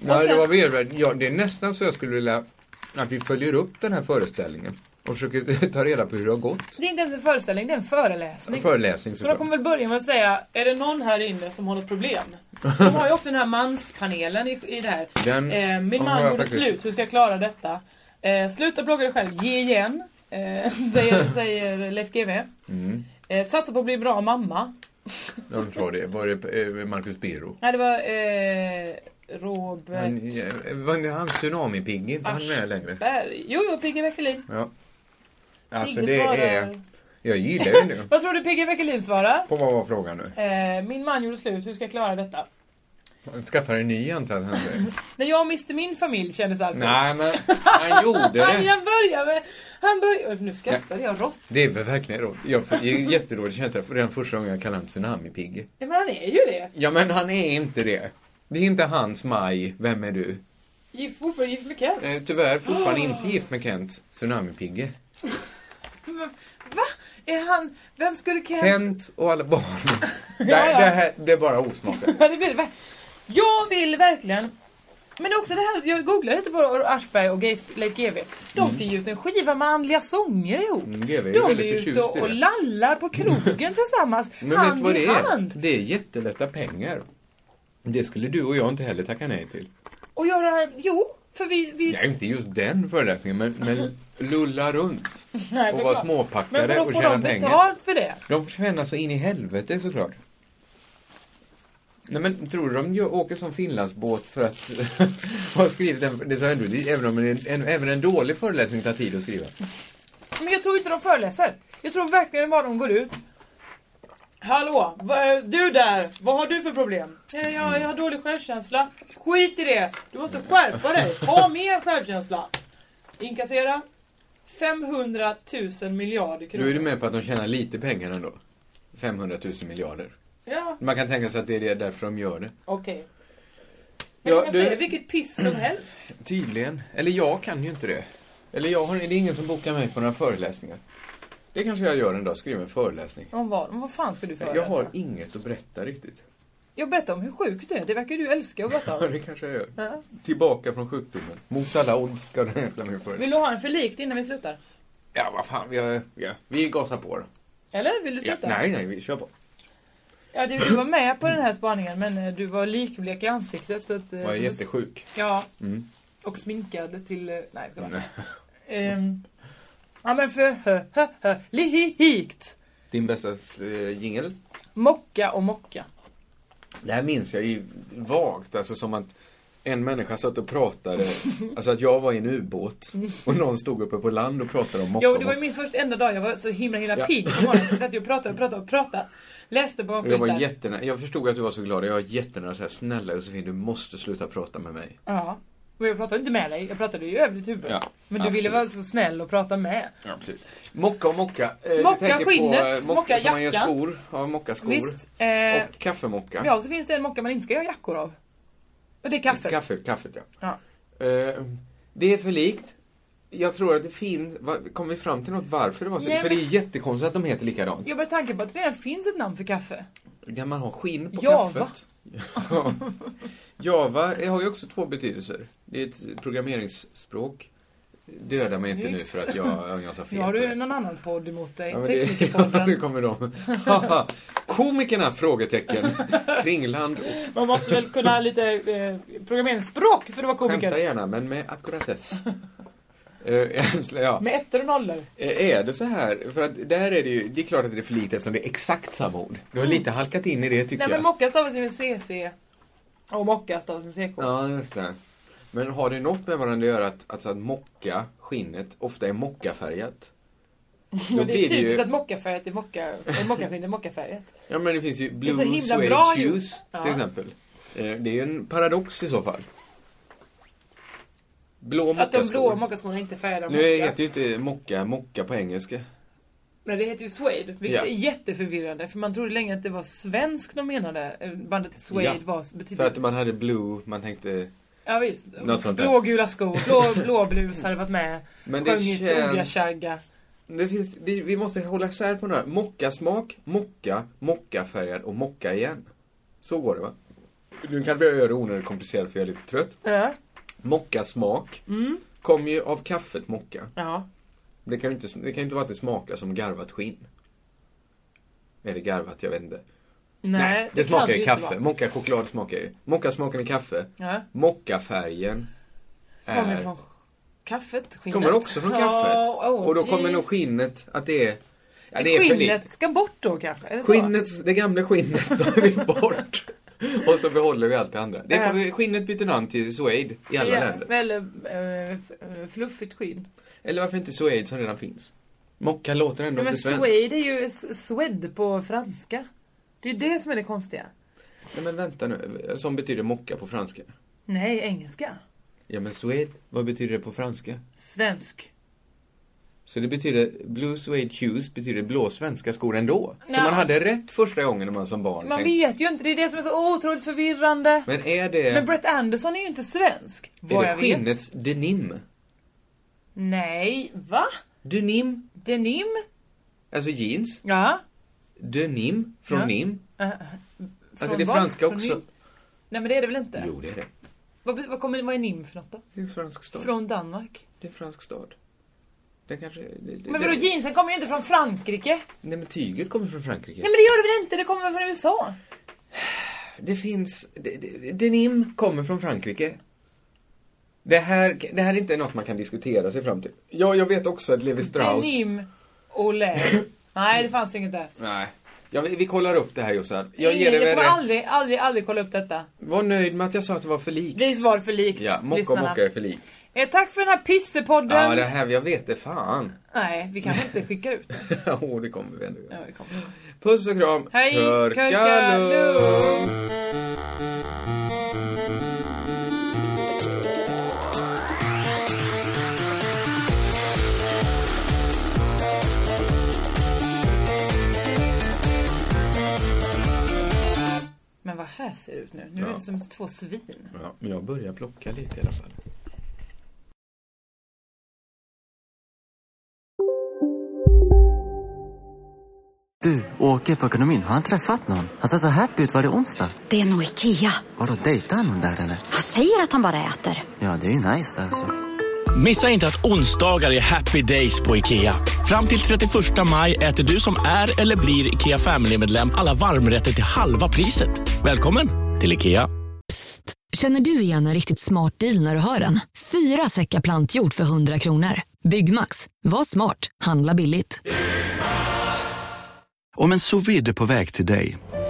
[SPEAKER 2] Nej,
[SPEAKER 3] sen-
[SPEAKER 2] det var väldigt, ja, det är nästan så jag skulle vilja att vi följer upp den här föreställningen och försöker ta reda på hur det har gått.
[SPEAKER 3] Det är inte ens en föreställning, det är en föreläsning.
[SPEAKER 2] Föreläsning
[SPEAKER 3] Så de
[SPEAKER 2] såklart.
[SPEAKER 3] kommer väl börja med att säga, är det någon här inne som har något problem? De har ju också den här manspanelen i, i det här.
[SPEAKER 2] Den-
[SPEAKER 3] eh,
[SPEAKER 2] den
[SPEAKER 3] min
[SPEAKER 2] har
[SPEAKER 3] man
[SPEAKER 2] jag
[SPEAKER 3] gjorde
[SPEAKER 2] faktiskt.
[SPEAKER 3] slut, hur ska jag klara detta? Eh, sluta blogga dig själv, ge igen. Eh, säger, säger Leif GW.
[SPEAKER 2] Mm.
[SPEAKER 3] Eh, satsa på att bli bra mamma.
[SPEAKER 2] Jag tror det. Var det eh, Marcus Birro?
[SPEAKER 3] Nej, det var eh, Robert
[SPEAKER 2] Han, eh, var det han Tsunamipigg? Inte han med längre?
[SPEAKER 3] Berg. Jo, jo, Pigge Weckelin.
[SPEAKER 2] Ja. Alltså
[SPEAKER 3] Pigge
[SPEAKER 2] det
[SPEAKER 3] svarar.
[SPEAKER 2] är... Jag gillar ju nu.
[SPEAKER 3] Vad tror du Pigge Weckelin svarar?
[SPEAKER 2] På vad var frågan nu?
[SPEAKER 3] Eh, min man gjorde slut, hur ska jag klara detta?
[SPEAKER 2] Skaffar en ny antar jag att han säger.
[SPEAKER 3] När jag miste min familj kändes allt
[SPEAKER 2] Nej men han gjorde
[SPEAKER 3] Han,
[SPEAKER 2] det.
[SPEAKER 3] han börjar med... Han börjar... Nu skrattar jag rått.
[SPEAKER 2] Det är väl verkligen råd. Jag fick en jättedålig känsla för den första gången jag kallade honom Tsunamipigge.
[SPEAKER 3] Ja, men han är ju det.
[SPEAKER 2] Ja men han är inte det. Det är inte hans Maj, vem är du?
[SPEAKER 3] Gift- Fortfarande gift med Kent.
[SPEAKER 2] Eh, Tyvärr fortfarande
[SPEAKER 3] Ah.
[SPEAKER 2] inte gift med Kent, Tsunamipigge.
[SPEAKER 3] Men, Va? Är han... Vem skulle Kent...
[SPEAKER 2] Kent och alla barn. Det,
[SPEAKER 3] ja.
[SPEAKER 2] det, här, det är bara osmakligt.
[SPEAKER 3] Ja, det blir det. verk- Jag vill verkligen... Men också det här, jag googlar lite på Aschberg och Gay- Leif GW. De ska ge ut en skiva med andliga sånger ihop.
[SPEAKER 2] Mm, GW är
[SPEAKER 3] De är
[SPEAKER 2] väldigt
[SPEAKER 3] ute
[SPEAKER 2] förtjust i
[SPEAKER 3] och, och
[SPEAKER 2] det.
[SPEAKER 3] lallar på krogen tillsammans,
[SPEAKER 2] Men vet du
[SPEAKER 3] hand
[SPEAKER 2] vad
[SPEAKER 3] i
[SPEAKER 2] det
[SPEAKER 3] hand.
[SPEAKER 2] är? Det är jättelätta pengar. Det skulle du och jag inte heller tacka nej till.
[SPEAKER 3] Och göra, jo, för vi... vi
[SPEAKER 2] Nej, inte just den föreläsningen, men, men lulla runt.
[SPEAKER 3] Nej,
[SPEAKER 2] och
[SPEAKER 3] förklart.
[SPEAKER 2] vara småpackare
[SPEAKER 3] Men då
[SPEAKER 2] och
[SPEAKER 3] får
[SPEAKER 2] tjäna
[SPEAKER 3] de
[SPEAKER 2] pengar.
[SPEAKER 3] betalt för det.
[SPEAKER 2] De får tjäna så in i helvete såklart. Nej men tror du de gör, åker som Finlandsbåt för att ha skrivit en, det sa jag nu, även om en, en, även en dålig föreläsning tar tid att skriva.
[SPEAKER 3] Men jag tror inte de föreläser. Jag tror verkligen bara de går ut. Hallå, vad- du där, vad har du för problem? Jag, jag, jag har dålig självkänsla. Skit i det, du måste skärpa dig. Ha mer självkänsla. Inkassera 500 000 miljarder
[SPEAKER 2] Nu är du
[SPEAKER 3] kronor.
[SPEAKER 2] med på att de tjänar lite pengar ändå. 500 000 miljarder.
[SPEAKER 3] Ja,
[SPEAKER 2] Man kan tänka sig att det är det därför de gör det.
[SPEAKER 3] okej. Men
[SPEAKER 2] Ja,
[SPEAKER 3] kan man
[SPEAKER 2] du-
[SPEAKER 3] säga vilket piss som helst?
[SPEAKER 2] Tydligen. Eller jag kan ju inte det. Eller jag har, det är ingen som bokar mig på några föreläsningar. Det kanske jag gör en dag, skriver en föreläsning.
[SPEAKER 3] Om vad, om vad fan ska du föreläsa?
[SPEAKER 2] Jag har inget att berätta riktigt.
[SPEAKER 3] jag berättar om hur sjukt det är, det verkar ju du älska att berätta
[SPEAKER 2] Ja,
[SPEAKER 3] om.
[SPEAKER 2] det kanske jag gör.
[SPEAKER 3] Ja.
[SPEAKER 2] Tillbaka från sjukdomen. Mot alla odds ska den heta min föreläsning.
[SPEAKER 3] Vill du ha en förlikt innan vi slutar?
[SPEAKER 2] Ja, vad fan. Vi, har, ja, vi gasar på då.
[SPEAKER 3] Eller vill du
[SPEAKER 2] Ja,
[SPEAKER 3] sluta?
[SPEAKER 2] nej, nej, vi kör på.
[SPEAKER 3] Ja, du, du var med på den här spaningen men eh, du var likblek i ansiktet så att... eh,
[SPEAKER 2] Jag är jättesjuk.
[SPEAKER 3] Ja,
[SPEAKER 2] Mm.
[SPEAKER 3] och sminkad till... eh, Nej, jag skojar.
[SPEAKER 2] Nej.
[SPEAKER 3] Ehm, ja men för hö, hö, hö, lihikt.
[SPEAKER 2] Din bästa eh, jingel?
[SPEAKER 3] Mocka och mocka.
[SPEAKER 2] Det här minns jag ju vagt, alltså som att en människa satt och pratade, alltså att jag var i en ubåt och någon stod uppe på land och pratade om
[SPEAKER 3] Jo, det var
[SPEAKER 2] Mockomo.
[SPEAKER 3] ju min första enda dag jag var så himla himla
[SPEAKER 2] Ja.
[SPEAKER 3] pigg på morgonen. Så satt jag och pratade och pratade och pratade. Läste
[SPEAKER 2] Och jag var
[SPEAKER 3] barnskyltar.
[SPEAKER 2] jättenära, jag förstod att du var så glad och jag var jättenära såhär, snälla Josefin du måste sluta prata med mig.
[SPEAKER 3] Ja. Men jag pratade inte med dig, jag pratade ju över ditt huvud.
[SPEAKER 2] Ja,
[SPEAKER 3] men du ville
[SPEAKER 2] absolut.
[SPEAKER 3] vara så snäll och prata med.
[SPEAKER 2] Ja, precis. Mocka och mocka. Eh, jag
[SPEAKER 3] Mocka
[SPEAKER 2] tänker på,
[SPEAKER 3] skinnet,
[SPEAKER 2] eh,
[SPEAKER 3] mocka
[SPEAKER 2] Som man gör
[SPEAKER 3] jackan.
[SPEAKER 2] skor, ja, mockaskor.
[SPEAKER 3] Visst. Eh,
[SPEAKER 2] Och kaffemocka.
[SPEAKER 3] ja, så finns det en mocka man inte ska göra jackor av. Och det är kaffet.
[SPEAKER 2] Kaffe, kaffet ja.
[SPEAKER 3] Ja.
[SPEAKER 2] Eh, det är för likt. Jag tror att det finns, va- kom vi fram till något varför det var så?
[SPEAKER 3] Nej,
[SPEAKER 2] för
[SPEAKER 3] men-
[SPEAKER 2] det är jättekonstigt att de heter likadant.
[SPEAKER 3] Jag med tanke på att det redan finns ett namn för kaffe.
[SPEAKER 2] Kan man ha skinn på
[SPEAKER 3] Java.
[SPEAKER 2] kaffet? Ja. Java har ju också två betydelser. Det är ett programmeringsspråk. Döda mig inte nu
[SPEAKER 3] Snyggt.
[SPEAKER 2] för att jag, om jag sa fel.
[SPEAKER 3] Nu har
[SPEAKER 2] på
[SPEAKER 3] du
[SPEAKER 2] det.
[SPEAKER 3] någon annan podd emot dig.
[SPEAKER 2] Ja, men det, nu
[SPEAKER 3] Teknikerpodden.
[SPEAKER 2] kommer de. Haha. Komikerna? Frågetecken. Kringland och
[SPEAKER 3] Man måste väl kunna lite eh, programmeringsspråk för att vara
[SPEAKER 2] skämta
[SPEAKER 3] komiker.
[SPEAKER 2] gärna men med ackuratess. Eh, ja.
[SPEAKER 3] Med ettor och nollor.
[SPEAKER 2] Eh, Är det så här? För att där är det ju, det är klart att det är för lite eftersom det är exakt samma ord. Du har lite halkat in i det tycker
[SPEAKER 3] Nej
[SPEAKER 2] jag.
[SPEAKER 3] men mocka stavas ju med CC. Och mocka stavas med CK.
[SPEAKER 2] Ja, just det. Men har det något med varandra att göra att, alltså att mocka, skinnet, ofta är mockafärgat?
[SPEAKER 3] och det är
[SPEAKER 2] blir det ju-
[SPEAKER 3] typiskt att mockafärget är mocka... eh, Mockaskinn är mockafärget.
[SPEAKER 2] Ja, men det finns ju
[SPEAKER 3] är
[SPEAKER 2] blue
[SPEAKER 3] så himla
[SPEAKER 2] suede
[SPEAKER 3] bra
[SPEAKER 2] shoes
[SPEAKER 3] gjort. Ja.
[SPEAKER 2] till exempel. Eh, Det är ju en paradox i så fall. Blå
[SPEAKER 3] Att de blå
[SPEAKER 2] mockaskor.
[SPEAKER 3] mockaskorna inte är färgade av
[SPEAKER 2] Nu
[SPEAKER 3] mocka.
[SPEAKER 2] heter ju inte mocka mocka på engelska.
[SPEAKER 3] Nej det heter ju Suede. Vilket
[SPEAKER 2] Ja.
[SPEAKER 3] är jätteförvirrande. För man trodde länge att det var svensk de menade. Eh, Bandet Suede
[SPEAKER 2] Ja.
[SPEAKER 3] var... Betyder...
[SPEAKER 2] För att man hade blue, man tänkte...
[SPEAKER 3] Ja visst.
[SPEAKER 2] Något sånt där.
[SPEAKER 3] Blågula skor, blå, blåblus hade varit med.
[SPEAKER 2] Men det
[SPEAKER 3] Sjungit
[SPEAKER 2] känns-
[SPEAKER 3] känns... Tjagga.
[SPEAKER 2] Det finns, det, vi måste hålla isär på några. Mockasmak, mocka, mockafärgad och mocka igen. Så går det va? Nu kan vi göra det onödigt komplicerat för jag är lite trött.
[SPEAKER 3] Ja.
[SPEAKER 2] Mockasmak
[SPEAKER 3] Mm.
[SPEAKER 2] kommer ju av kaffet mocka.
[SPEAKER 3] Ja.
[SPEAKER 2] Det kan ju inte, det kan ju inte vara att det smakar som garvat skinn. Eller garvat, jag vet inte.
[SPEAKER 3] Nej,
[SPEAKER 2] det,
[SPEAKER 3] kan
[SPEAKER 2] smakar
[SPEAKER 3] det
[SPEAKER 2] ju
[SPEAKER 3] inte
[SPEAKER 2] kaffe.
[SPEAKER 3] vara.
[SPEAKER 2] Mocka choklad smakar ju. Mocka smaken i kaffe.
[SPEAKER 3] Ja.
[SPEAKER 2] Mockafärgen
[SPEAKER 3] Kommer
[SPEAKER 2] är-
[SPEAKER 3] från kaffet, skinnet.
[SPEAKER 2] Äh. kommer också från
[SPEAKER 3] Ja,
[SPEAKER 2] kaffet.
[SPEAKER 3] åh,
[SPEAKER 2] och då
[SPEAKER 3] det-
[SPEAKER 2] kommer nog skinnet att det är
[SPEAKER 11] Ja, det är för
[SPEAKER 3] Skinnet ska bort då kanske? Är det så?
[SPEAKER 2] Skinnet, det gamla skinnet tar vi bort. Och så behåller vi allt det andra. Det får vi, skinnet byter namn till suede i alla
[SPEAKER 3] ja,
[SPEAKER 2] länder.
[SPEAKER 3] Eller eh, f- eh, fluffigt skinn.
[SPEAKER 2] Eller varför inte suede som redan finns? Mocka låter ändå
[SPEAKER 3] Men,
[SPEAKER 2] inte svenskt.
[SPEAKER 3] suede är ju s- suede på franska. Det är ju det som är det konstiga.
[SPEAKER 2] Nej men vänta nu, som betyder mocka på franska.
[SPEAKER 3] Nej, engelska.
[SPEAKER 2] Ja men suede, vad betyder det på franska?
[SPEAKER 3] Svensk.
[SPEAKER 2] Så det betyder, blue suede shoes betyder blå svenska skor ändå. Så
[SPEAKER 3] Nej.
[SPEAKER 2] man hade rätt första gången när man som barn
[SPEAKER 3] Man
[SPEAKER 2] tänkte-
[SPEAKER 3] vet ju inte, det är det som är så otroligt förvirrande.
[SPEAKER 2] Men är det,
[SPEAKER 3] Men Brett Anderson är ju inte svensk.
[SPEAKER 2] Eh. är
[SPEAKER 3] Vad
[SPEAKER 2] det
[SPEAKER 3] jag vet.
[SPEAKER 2] skinnets denim?
[SPEAKER 3] Nej, va?
[SPEAKER 2] Denim?
[SPEAKER 3] Denim?
[SPEAKER 2] Alltså jeans?
[SPEAKER 3] Ja.
[SPEAKER 2] Denim? Från
[SPEAKER 3] Ja.
[SPEAKER 2] nim?
[SPEAKER 3] Eh,
[SPEAKER 2] Alltså
[SPEAKER 3] från
[SPEAKER 2] det är
[SPEAKER 3] vad?
[SPEAKER 2] franska
[SPEAKER 3] Från
[SPEAKER 2] också.
[SPEAKER 3] Nim? Nej men det är det väl inte?
[SPEAKER 2] Jo det är det.
[SPEAKER 3] Vad, vad, kommer, vad är NIM för något då?
[SPEAKER 2] Det är en fransk stad.
[SPEAKER 3] Från Danmark?
[SPEAKER 2] Det är en fransk stad. Den kanske... Det, det,
[SPEAKER 3] Men vadå
[SPEAKER 2] det-
[SPEAKER 3] jeansen kommer ju inte från Frankrike?
[SPEAKER 2] Nej men tyget kommer från Frankrike.
[SPEAKER 3] Nej men det gör det väl inte? Det kommer väl från USA?
[SPEAKER 2] Det finns... det- det- Denim kommer från Frankrike. Det här, det här är inte något man kan diskutera sig fram till. Ja, jag vet också att Levi Strauss...
[SPEAKER 3] Denim Olé. Nej det fanns inget där.
[SPEAKER 2] Nej. Ja, vi, vi kollar upp det här Jossan. Jag ger dig
[SPEAKER 3] jag
[SPEAKER 2] väl
[SPEAKER 3] kommer
[SPEAKER 2] rätt.
[SPEAKER 3] aldrig, aldrig, aldrig kolla upp detta.
[SPEAKER 2] Var nöjd med att jag sa att det var för likt.
[SPEAKER 3] Vis var för likt.
[SPEAKER 2] Ja, mocka och
[SPEAKER 3] lyssnarna.
[SPEAKER 2] mocka är för likt.
[SPEAKER 3] Eh, tack för den här pissepodden.
[SPEAKER 2] Ja, det här, jag vet det fan.
[SPEAKER 3] Nej, vi kanske inte skickar ut den.
[SPEAKER 2] Jo, det kommer vi ändå göra.
[SPEAKER 3] Ja, det kommer.
[SPEAKER 2] Puss och kram.
[SPEAKER 3] Hej,
[SPEAKER 2] Körka
[SPEAKER 3] körka
[SPEAKER 2] lugnt.
[SPEAKER 3] Men vad här ser det ut nu. Nu är
[SPEAKER 2] Ja.
[SPEAKER 3] det som två svin.
[SPEAKER 2] Ja, men jag börjar plocka lite i alla fall.
[SPEAKER 12] Du, åker på ekonomin. Har han träffat någon? Han ser så happy ut. Var det onsdag?
[SPEAKER 13] Det är nog Ikea.
[SPEAKER 12] Vadå, dejtar han någon där eller?
[SPEAKER 13] Han säger att han bara äter.
[SPEAKER 12] Ja, det är ju nice alltså.
[SPEAKER 14] Missa inte att onsdagar är happy days på IKEA. Fram till 31 maj äter du som är eller blir IKEA Family-medlem alla varmrätter till halva priset. Välkommen till IKEA.
[SPEAKER 15] Känner du igen en riktigt smart deal när du hör den? Fyra säckar plantjord för 100 kronor. Byggmax. Var smart. Handla billigt.
[SPEAKER 16] Om en sous vide är på väg till dig